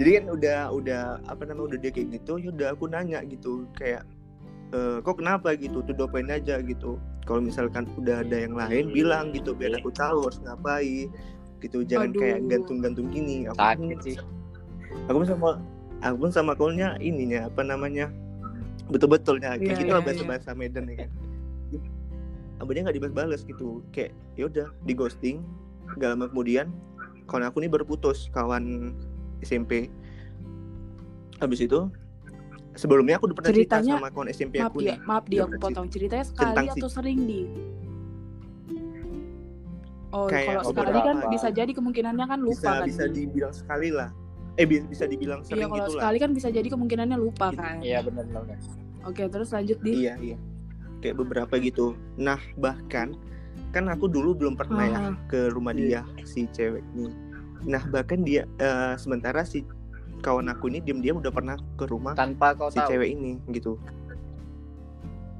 Speaker 3: jadi kan udah udah apa namanya udah dia kayak gitu ya udah aku nanya gitu kayak e, kok kenapa gitu tuh dopain aja gitu kalau misalkan udah ada yang
Speaker 1: Hmm,
Speaker 3: lain bilang gitu biar aku tahu harus ngapain gitu jangan
Speaker 1: Aduh.
Speaker 3: kayak gantung-gantung gini aku pun-
Speaker 2: Sakit sih.
Speaker 3: aku pun sama aku pun sama call-nya ininya apa namanya betul-betulnya kayak
Speaker 1: Iya,
Speaker 3: gitu lah
Speaker 1: iya,
Speaker 3: bahasa bahasa Medan ya kan abangnya nggak dibales-bales gitu kayak ya udah di ghosting gak lama kemudian kawan aku nih berputus kawan SMP habis itu sebelumnya aku udah pernah
Speaker 1: Ceritanya,
Speaker 3: cerita sama kawan SMP
Speaker 1: maaf ya,
Speaker 3: aku
Speaker 1: dia,
Speaker 3: nih
Speaker 1: maaf dia
Speaker 3: Dia
Speaker 1: aku
Speaker 3: bercerita.
Speaker 1: potong ceritanya
Speaker 3: Iya, Tentang
Speaker 1: sekali
Speaker 3: si-
Speaker 1: atau sering di. Oh,
Speaker 3: Kayak
Speaker 1: kalau sekali
Speaker 2: beberapa.
Speaker 1: kan bisa jadi kemungkinannya kan
Speaker 3: bisa
Speaker 1: lupa kan.
Speaker 3: bisa
Speaker 1: Di?
Speaker 3: dibilang sekali lah eh bi- bisa dibilang
Speaker 1: Iya,
Speaker 3: sering
Speaker 1: kalau
Speaker 3: gitu lah
Speaker 1: sekali kan bisa jadi kemungkinannya lupa
Speaker 3: Gitu.
Speaker 1: kan.
Speaker 2: Iya, benar benar. benar.
Speaker 1: Oke, terus lanjut di.
Speaker 3: iya iya kayak beberapa gitu nah bahkan kan aku dulu belum pernah ya
Speaker 1: Ah,
Speaker 3: ke rumah dia si cewek ini. Nah bahkan dia eh, sementara si kawan aku ini diam-diam udah pernah ke rumah
Speaker 2: Tanpa kau
Speaker 3: si
Speaker 2: tahu.
Speaker 3: cewek ini gitu.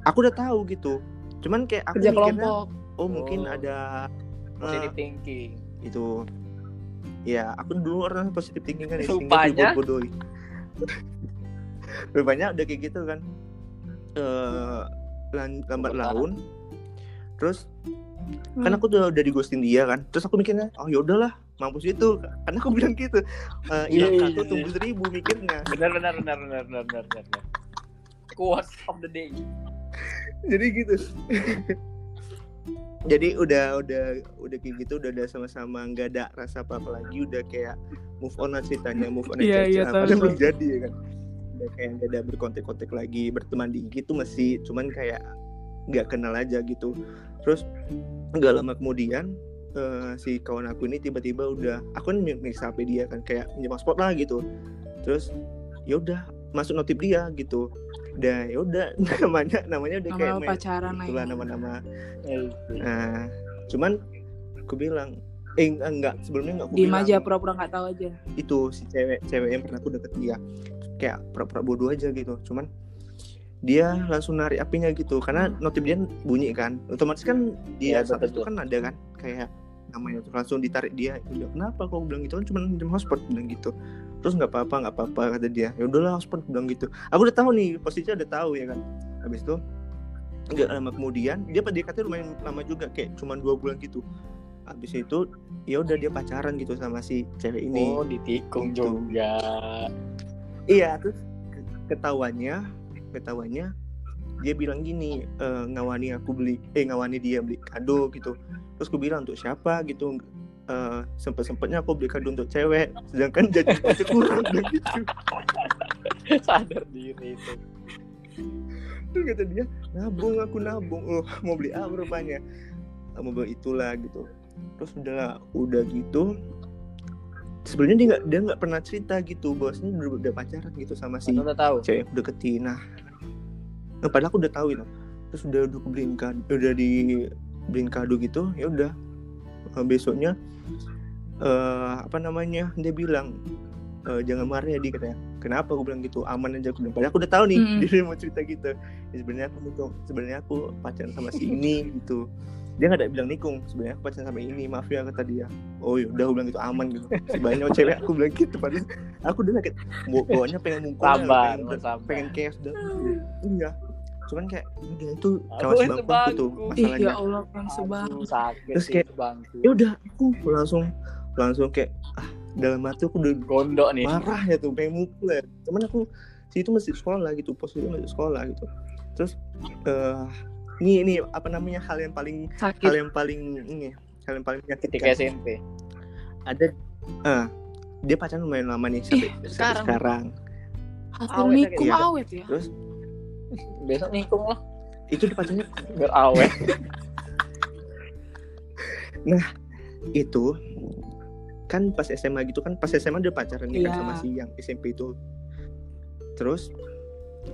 Speaker 3: Aku udah tahu gitu. Cuman kayak aku
Speaker 1: kerja
Speaker 3: mikirnya
Speaker 1: kelompok.
Speaker 3: oh mungkin
Speaker 2: Oh.
Speaker 3: ada Ah. eh,
Speaker 2: Positive thinking.
Speaker 3: itu. Ya aku dulu orang positif thinking kan ya,
Speaker 2: Rupanya.
Speaker 3: bodoh. Rupanya udah kayak gitu kan. Eh lan- lambat
Speaker 2: Kebetulan.
Speaker 3: laun. Terus kan aku udah udah di ghosting dia kan terus aku mikirnya oh ya udahlah mampus itu karena aku bilang gitu Eh hilang
Speaker 2: Iya,
Speaker 3: satu
Speaker 2: iya,
Speaker 3: tunggu seribu mikirnya
Speaker 2: Benar benar benar benar benar benar. benar. Quotes of the day.
Speaker 3: jadi gitu jadi udah udah udah kayak gitu udah ada sama-sama nggak ada rasa apa apa lagi udah kayak move on lah ceritanya move on
Speaker 1: Iya,
Speaker 3: aja
Speaker 1: iya, tahu,
Speaker 3: apa yang
Speaker 1: tahu.
Speaker 3: belum jadi ya kan udah kayak nggak ada berkontak-kontak lagi berteman di IG tuh masih cuman kayak nggak kenal aja gitu terus nggak lama kemudian eh, si kawan aku ini tiba-tiba udah aku kan mix HP dia kan kayak menjemput spot lah gitu terus ya udah masuk notif dia gitu dan ya udah namanya namanya udah kayak
Speaker 1: Nama
Speaker 3: main-
Speaker 1: pacaran ya.
Speaker 3: itulah
Speaker 1: lain.
Speaker 3: nama-nama nah cuman aku bilang eh enggak, enggak sebelumnya enggak aku
Speaker 1: Diem
Speaker 3: bilang
Speaker 1: aja pura-pura nggak tahu aja.
Speaker 3: itu si cewek cewek yang pernah aku deket dia kayak pura-pura bodoh aja gitu cuman dia langsung narik apinya gitu karena notif dia bunyi kan otomatis kan di
Speaker 2: Iya,
Speaker 3: WhatsApp itu
Speaker 2: betul.
Speaker 3: kan ada kan kayak namanya tuh langsung ditarik dia udah kenapa kau bilang gitu kan cuma minjem hotspot bilang gitu terus nggak apa-apa nggak apa-apa kata dia ya udahlah hotspot bilang gitu aku udah tahu nih posisinya udah tahu ya kan habis itu nggak lama kemudian dia PDKT lumayan lama juga kayak cuma dua bulan gitu habis itu ya udah dia pacaran gitu sama si cewek ini
Speaker 2: Oh, ditikung
Speaker 3: Gitu.
Speaker 2: juga.
Speaker 3: Iya, terus ketahuannya, ketahuannya dia bilang gini, eh, ngawani aku beli, eh ngawani dia beli kado gitu. Terus aku bilang untuk siapa gitu. Eh, sempet-sempetnya aku beli kado untuk cewek, sedangkan jadi masih kurang dan gitu.
Speaker 2: Sadar diri itu.
Speaker 3: kata dia nabung aku nabung loh mau beli apa rupanya "Ah, mau beli itulah gitu terus udah udah gitu sebenarnya dia nggak dia nggak pernah cerita gitu bahwasanya udah, udah pacaran gitu sama si
Speaker 2: Atau udah tahu.
Speaker 3: cewek yang udah ketina nah, padahal aku udah tahu itu terus udah udah aku beliin kado udah dibeliin kado gitu ya udah Eh, besoknya eh apa namanya dia bilang "Eh, jangan marah ya di katanya kenapa aku bilang gitu aman aja aku bilang padahal aku udah tahu nih
Speaker 1: Mm.
Speaker 3: dia mau cerita gitu Ya, sebenarnya aku nikung sebenarnya aku pacaran sama si ini gitu dia nggak ada bilang nikung sebenarnya aku pacaran sama ini maaf ya kata dia oh ya udah aku bilang gitu aman gitu sebanyak cewek aku bilang gitu padahal aku udah kayak bawa- bawaannya pengen mukul
Speaker 2: Sabar,
Speaker 3: pengen
Speaker 2: lo sabar.
Speaker 3: pengen chaos dah
Speaker 1: Hmm.
Speaker 3: iya cuman kayak udah itu
Speaker 2: Aku
Speaker 3: kawan
Speaker 2: yang
Speaker 3: sebangku aku tuh
Speaker 2: sebangku.
Speaker 1: Ih,
Speaker 3: masalahnya
Speaker 1: ya Allah, kan sebab.
Speaker 2: Aduh, sakit
Speaker 3: Terus
Speaker 2: sih,
Speaker 3: kayak-
Speaker 2: bangku.
Speaker 3: ya udah aku langsung langsung kayak ah dalam hati aku udah
Speaker 2: Gondok nih.
Speaker 3: marah ya tuh pengen mukul ya cuman aku si itu masih sekolah gitu posisinya masih sekolah gitu terus eh ini ini apa namanya hal yang paling hal
Speaker 1: Sakit.
Speaker 3: yang paling ini hal yang paling
Speaker 2: Ketika
Speaker 3: menyakitkan
Speaker 2: SMP.
Speaker 3: ada eh dia pacaran lumayan lama nih sampai,
Speaker 1: Ih,
Speaker 3: sampai
Speaker 1: sekarang.
Speaker 3: sekarang
Speaker 1: Hasil
Speaker 2: awet ya,
Speaker 1: nikung
Speaker 3: kayak-
Speaker 1: awet ya.
Speaker 3: terus
Speaker 2: Besok nikung lah.
Speaker 3: itu dia pacarnya
Speaker 2: Biar awet.
Speaker 3: itu kan pas SMA gitu kan pas SMA udah pacaran nih
Speaker 1: Iya.
Speaker 3: kan sama si yang SMP itu terus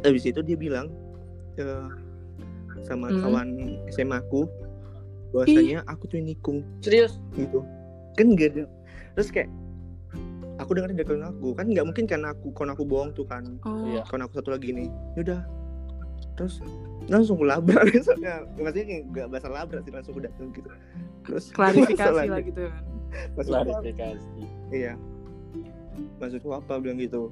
Speaker 3: habis itu dia bilang eh, sama
Speaker 1: Hmm.
Speaker 3: kawan SMA aku bahwasanya aku tuh nikung
Speaker 2: Serius.
Speaker 3: gitu kan gak ada terus kayak aku dengerin dari kawan aku kan nggak mungkin kan aku kawan aku bohong tuh kan
Speaker 1: Oh,
Speaker 2: Iya.
Speaker 3: kawan aku satu lagi nih yaudah terus langsung aku labrak besoknya maksudnya kayak nggak bahasa labrak sih langsung udah gitu terus
Speaker 1: klarifikasi
Speaker 3: masalahnya-
Speaker 1: lah gitu kan.
Speaker 3: masalahnya-
Speaker 2: Klarifikasi.
Speaker 3: Iya. Maksudku apa bilang gitu.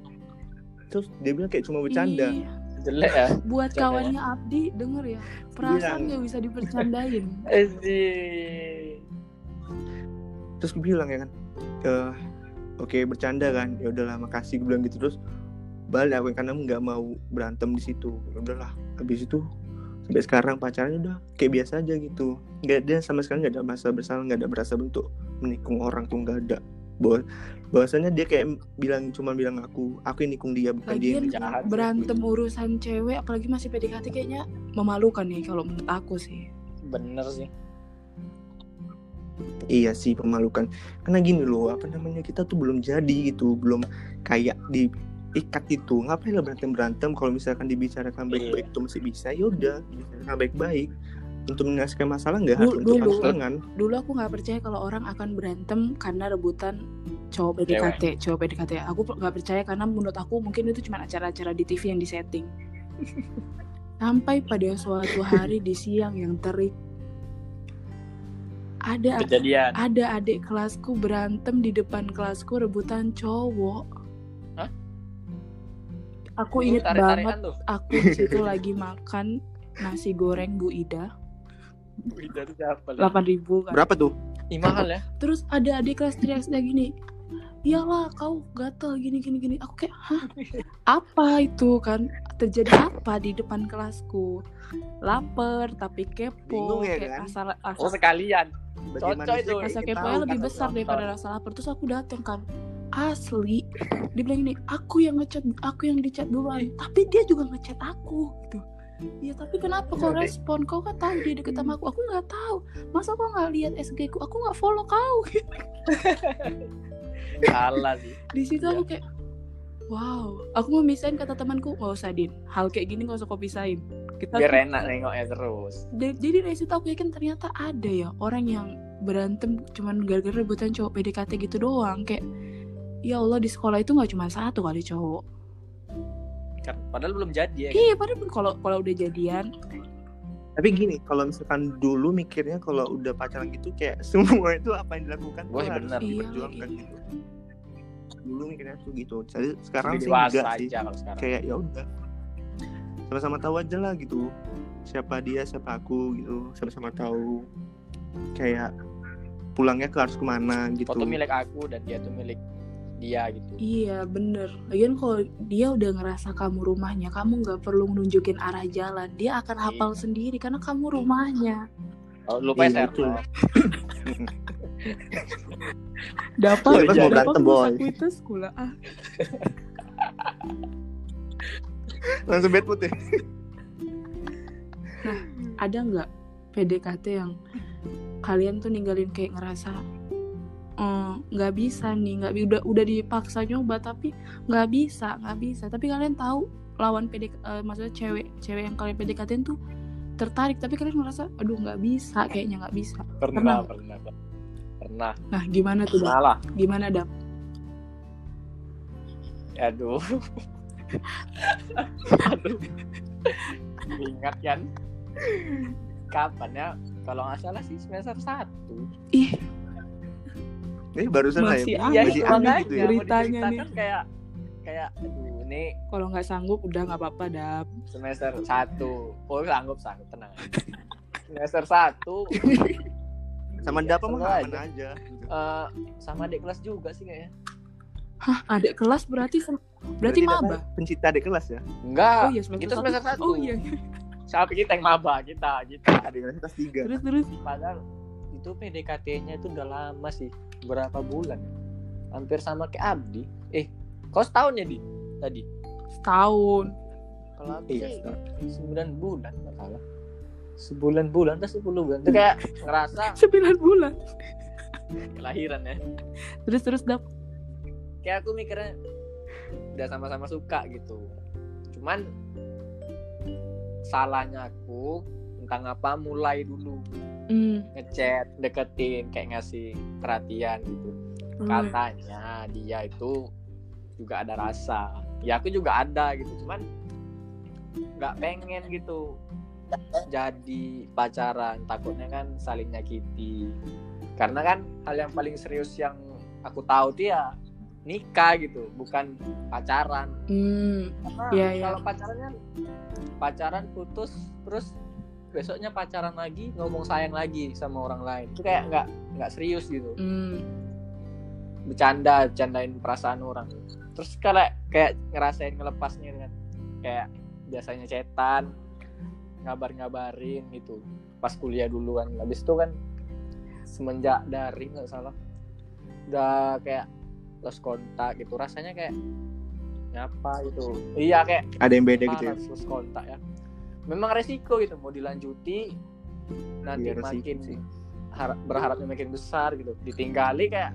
Speaker 3: Terus dia bilang kayak cuma bercanda.
Speaker 1: Ih,
Speaker 2: Jelek ya.
Speaker 1: Iya. buat
Speaker 2: Bercanda ya.
Speaker 1: kawannya Abdi denger ya.
Speaker 3: Iya.
Speaker 1: Perasaan nggak bisa dipercandain.
Speaker 2: Asik.
Speaker 3: Terus gue bilang ya kan, "Eh, oke bercanda kan. Ya udahlah makasih gue bilang gitu terus balik aku karena nggak mau berantem di situ. Ya udahlah. Habis itu sampai sekarang pacarnya udah kayak biasa aja gitu. Gak dia sama sekali nggak ada merasa bersalah, nggak ada merasa bentuk menikung orang tuh nggak ada. Bahwa- bahwasanya dia kayak bilang cuma bilang aku, aku yang nikung dia bukan dia yang
Speaker 1: Lagian
Speaker 3: jahat.
Speaker 1: berantem urusan cewek apalagi masih PDKT kayaknya memalukan nih kalau menurut aku sih.
Speaker 2: Bener sih.
Speaker 3: Iya sih pemalukan. Karena gini loh, apa namanya kita tuh belum jadi gitu, belum kayak diikat itu. Ngapain lah berantem berantem kalau misalkan
Speaker 2: Iya.
Speaker 3: dibicarakan baik-baik tuh masih bisa. Ya udah, dibicarakan baik-baik. Untuk menyelesaikan masalah nggak harus
Speaker 1: Dulu- dulu.
Speaker 3: untuk tangan.
Speaker 1: Dulu aku nggak percaya kalau orang akan berantem karena rebutan cowok PDKT, cowok PDKT. Aku pe- nggak percaya karena menurut aku mungkin itu cuma acara-acara di TV yang disetting. Sampai pada suatu hari di siang yang terik ada
Speaker 2: Kejadian.
Speaker 1: ada adik kelasku berantem di depan kelasku rebutan cowok.
Speaker 2: Hah?
Speaker 1: Aku inget banget
Speaker 2: Tarik-tarikan tuh.
Speaker 1: aku di situ lagi makan nasi goreng Bu Ida
Speaker 2: Wih, dari siapa? lah?
Speaker 1: 8000 kan.
Speaker 3: Berapa tuh?
Speaker 2: Ih, mahal ya.
Speaker 1: Terus ada adik kelas teriak-teriak gini. Iyalah kau gatel gini gini gini. Aku kayak hah apa itu kan terjadi apa di depan kelasku lapar tapi kepo
Speaker 3: Bingung ya
Speaker 1: kayak
Speaker 3: kan?
Speaker 1: asal asal
Speaker 2: Oh sekalian. Cocok
Speaker 3: sih
Speaker 2: itu.
Speaker 3: kayak
Speaker 1: rasa
Speaker 3: kita
Speaker 1: keponya
Speaker 3: tahu
Speaker 1: lebih
Speaker 3: kan?
Speaker 1: besar
Speaker 2: nonton.
Speaker 1: daripada rasa lapar terus aku dateng kan asli dibilang ini aku yang ngechat aku yang dicat
Speaker 3: Eh.
Speaker 1: duluan tapi dia juga ngechat aku gitu ya tapi kenapa kau
Speaker 3: Jadi-
Speaker 1: respon kau kan tahu dia deket sama aku aku nggak tahu masa kau nggak lihat SG ku aku nggak follow kau
Speaker 2: Salah sih.
Speaker 1: di situ aku kayak wow aku mau misahin kata temanku nggak usah din hal kayak gini nggak usah kau pisahin kita
Speaker 2: Biar enak nengoknya terus.
Speaker 1: Da- jadi dari situ aku yakin ternyata ada ya orang yang berantem cuman gara-gara rebutan cowok PDKT gitu doang kayak ya Allah di sekolah itu nggak cuma satu kali cowok
Speaker 2: Kan, Padahal belum jadi ya.
Speaker 1: iya padahal kalau kalau udah jadian
Speaker 3: Tapi gini, kalau misalkan dulu mikirnya kalau udah pacaran gitu kayak semua itu apa yang dilakukan tuh
Speaker 2: Wah,
Speaker 3: harus
Speaker 2: benar.
Speaker 1: Iya,
Speaker 3: diperjuangkan
Speaker 1: lagi.
Speaker 3: gitu. Dulu mikirnya tuh gitu. Jadi sekarang
Speaker 2: Sekarang
Speaker 3: sih
Speaker 2: dewasa
Speaker 3: enggak sih.
Speaker 2: aja kalau sekarang.
Speaker 3: kayak ya udah sama-sama tahu aja lah gitu siapa dia siapa aku gitu sama-sama tahu kayak pulangnya ke harus kemana gitu
Speaker 2: Foto milik aku dan dia tuh milik dia gitu.
Speaker 1: iya bener lagian kalau dia udah ngerasa kamu rumahnya kamu nggak perlu nunjukin arah jalan dia akan hafal sendiri karena kamu rumahnya
Speaker 2: Oh, lupa ya,
Speaker 3: Iya, betul.
Speaker 1: dapat
Speaker 2: Bebas mau
Speaker 3: berantem, boy.
Speaker 1: itu sekolah ah
Speaker 3: langsung bad mood ya
Speaker 1: ada nggak PDKT yang kalian tuh ninggalin kayak ngerasa "Eh, nggak bisa nih nggak bi- udah udah dipaksa nyoba tapi nggak bisa nggak bisa tapi kalian tahu lawan PDK eh, maksudnya cewek cewek yang kalian PDKT tuh tertarik tapi kalian merasa aduh nggak bisa kayaknya nggak bisa Pernah.
Speaker 2: pernah pernah pernah pernah
Speaker 1: nah gimana tuh Dap?
Speaker 2: pernah lah
Speaker 1: gimana dap
Speaker 2: aduh aduh ingat kan kapan ya kalau nggak salah sih semester satu
Speaker 1: ih
Speaker 3: Ini barusan lah
Speaker 1: Masih
Speaker 3: ya.
Speaker 1: aneh. Iya,
Speaker 3: Masih aneh
Speaker 1: makanya.
Speaker 3: gitu ya.
Speaker 2: mau
Speaker 1: Beritanya nih.
Speaker 2: diceritakan kayak kayak aduh ini
Speaker 1: kalau nggak sanggup udah nggak apa-apa dap
Speaker 2: semester satu oh sanggup sanggup tenang aja. semester satu
Speaker 3: Sama
Speaker 2: Iya,
Speaker 3: Dapa mah
Speaker 2: seru
Speaker 3: aman
Speaker 2: aja.
Speaker 3: aja. gitu.
Speaker 2: Eh, sama adik kelas juga sih kayaknya
Speaker 1: Hah, adik kelas berarti sem- berarti,
Speaker 3: Dapa
Speaker 1: maba.
Speaker 3: Pencinta adik kelas ya.
Speaker 1: Oh
Speaker 2: enggak
Speaker 1: iya semester
Speaker 2: itu
Speaker 1: satu.
Speaker 2: semester satu.
Speaker 1: Oh iya.
Speaker 2: siapa kita yang maba kita kita
Speaker 3: Adik kelas kelas tiga.
Speaker 1: Terus terus
Speaker 2: padahal itu PDKT-nya itu udah lama sih berapa bulan hampir sama kayak Abdi eh kau setahun ya di tadi
Speaker 1: setahun.
Speaker 2: kalau Abdi
Speaker 3: Iya.
Speaker 2: sih
Speaker 3: Star.
Speaker 2: sembilan bulan nggak salah sebulan bulan atau sepuluh bulan itu kayak ngerasa
Speaker 1: 9 bulan.
Speaker 2: kelahiran ya
Speaker 1: Terus terus dap
Speaker 2: kayak aku mikirnya udah sama-sama suka gitu cuman salahnya aku tentang apa mulai dulu
Speaker 1: Hmm.
Speaker 2: ngechat deketin kayak ngasih perhatian gitu
Speaker 1: Hmm.
Speaker 2: katanya dia itu juga ada rasa ya aku juga ada gitu cuman nggak pengen gitu jadi pacaran takutnya kan saling nyakiti karena kan hal yang paling serius yang aku tahu tuh ya nikah gitu bukan pacaran
Speaker 1: Hmm.
Speaker 2: karena
Speaker 1: Iya, iya.
Speaker 2: Nah, kalau pacaran kan pacaran putus terus besoknya pacaran lagi ngomong sayang lagi sama orang lain itu kayak nggak nggak serius gitu
Speaker 1: Hmm.
Speaker 2: bercanda bercandain perasaan orang terus kalau kayak ngerasain ngelepasnya dengan kayak biasanya cetan ngabar-ngabarin gitu pas kuliah duluan habis itu kan semenjak dari nggak salah udah kayak lost kontak gitu rasanya kayak ngapa gitu iya kayak
Speaker 3: Ada yang beda gitu ya.
Speaker 2: parah lost kontak ya memang resiko gitu mau dilanjuti nanti
Speaker 3: Iya, resiko
Speaker 2: makin
Speaker 3: sih.
Speaker 2: har- berharapnya makin besar gitu ditinggali kayak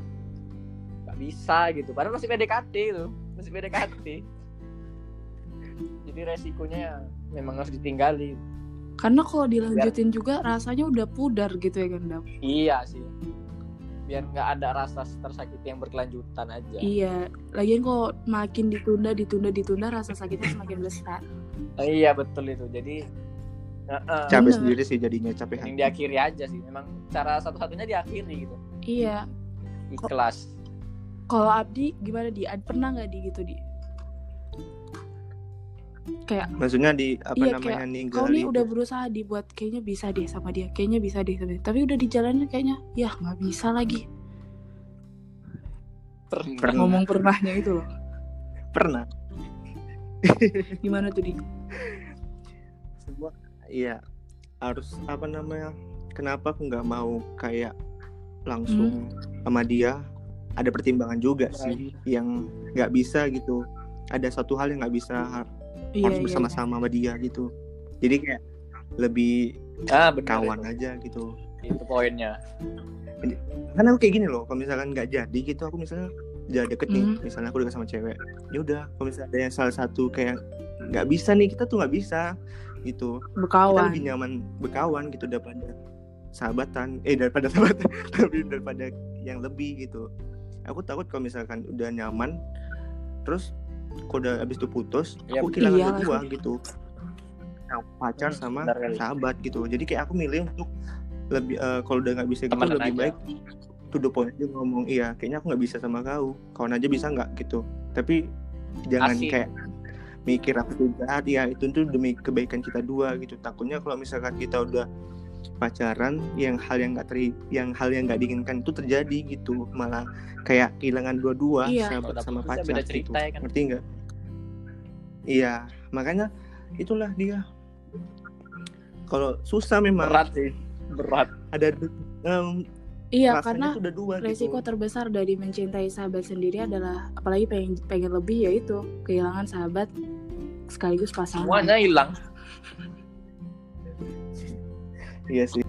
Speaker 2: nggak bisa gitu padahal masih PDKT itu masih PDKT jadi resikonya ya memang harus ditinggali
Speaker 1: Karena kalau dilanjutin juga rasanya udah pudar gitu ya kan dap.
Speaker 2: iya sih biar nggak ada rasa tersakiti yang berkelanjutan aja
Speaker 1: Iya. Lagian kalau makin ditunda ditunda ditunda rasa sakitnya semakin besar.
Speaker 2: iya betul itu jadi heeh,
Speaker 3: Capek
Speaker 1: Bener.
Speaker 3: sendiri sih jadinya capek
Speaker 2: yang
Speaker 3: hati.
Speaker 2: diakhiri aja sih memang cara satu-satunya diakhiri gitu
Speaker 1: Iya.
Speaker 2: ikhlas
Speaker 1: Kalau Abdi gimana di? Ad- Pernah nggak di gitu di?
Speaker 3: Maksudnya di apa
Speaker 1: Iya, Kau
Speaker 3: namanya ninggalin. gitu.
Speaker 1: nih udah berusaha dibuat kayaknya bisa deh sama dia, kayaknya bisa deh sama dia. Tapi udah di jalannya kayaknya, ya nggak bisa lagi.
Speaker 3: Pernah.
Speaker 1: Ngomong pernahnya itu loh.
Speaker 3: Pernah.
Speaker 1: Gimana tuh di?
Speaker 3: semua iya harus apa namanya kenapa aku nggak mau kayak langsung
Speaker 1: Hmm.
Speaker 3: sama dia ada pertimbangan juga
Speaker 1: Iya.
Speaker 3: sih yang nggak bisa gitu ada satu hal yang nggak bisa har-
Speaker 1: Iya,
Speaker 3: harus
Speaker 1: iya,
Speaker 3: bersama-sama sama dia gitu jadi kayak lebih
Speaker 2: Ah,
Speaker 1: Iya,
Speaker 2: bener
Speaker 3: kawan
Speaker 2: itu.
Speaker 3: aja gitu
Speaker 2: Itu poinnya.
Speaker 3: karena aku kayak gini loh kalau misalkan nggak jadi gitu aku misalnya udah deket nih
Speaker 1: Hmm.
Speaker 3: misalnya aku deket sama cewek ya udah kalau misalnya ada yang salah satu kayak nggak bisa nih kita tuh nggak bisa gitu
Speaker 1: iya.
Speaker 3: kita
Speaker 1: Berkawan.
Speaker 3: lebih nyaman berkawan gitu daripada sahabatan eh daripada sahabatan lebih daripada yang lebih gitu aku takut kalau misalkan udah nyaman terus kalau udah abis itu putus
Speaker 2: Iya,
Speaker 3: aku kehilangan
Speaker 1: Iya,
Speaker 3: berdua gitu Nah, pacar
Speaker 2: Hmm,
Speaker 3: sama
Speaker 2: benar kali.
Speaker 3: sahabat gitu jadi kayak aku milih untuk lebih eh, kalau udah nggak bisa gitu
Speaker 2: Temenan
Speaker 3: lebih
Speaker 2: aja.
Speaker 3: baik to the point aja ngomong iya kayaknya aku nggak bisa sama kau kawan aja bisa nggak gitu tapi jangan
Speaker 2: Asik.
Speaker 3: kayak mikir aku tuh jahat ya itu tuh demi kebaikan kita dua gitu takutnya kalau misalkan kita udah pacaran yang hal yang nggak teri yang hal yang nggak diinginkan itu terjadi gitu malah kayak kehilangan dua-dua
Speaker 1: Iya.
Speaker 3: sahabat
Speaker 2: Kalau
Speaker 3: sama
Speaker 2: udah putus ya
Speaker 3: pacar
Speaker 2: beda
Speaker 3: gitu
Speaker 2: cerita ya kan.
Speaker 3: ngerti nggak iya makanya itulah dia kalau susah memang
Speaker 2: Berat sih. Berat.
Speaker 3: ada du- em,
Speaker 1: Iya,
Speaker 3: rasanya
Speaker 1: karena
Speaker 3: tuh udah dua
Speaker 1: resiko
Speaker 3: gitu
Speaker 1: terbesar dari mencintai sahabat sendiri adalah apalagi pengen pengen lebih yaitu kehilangan sahabat sekaligus pasangan.
Speaker 2: Semuanya hilang.
Speaker 3: Iya sih.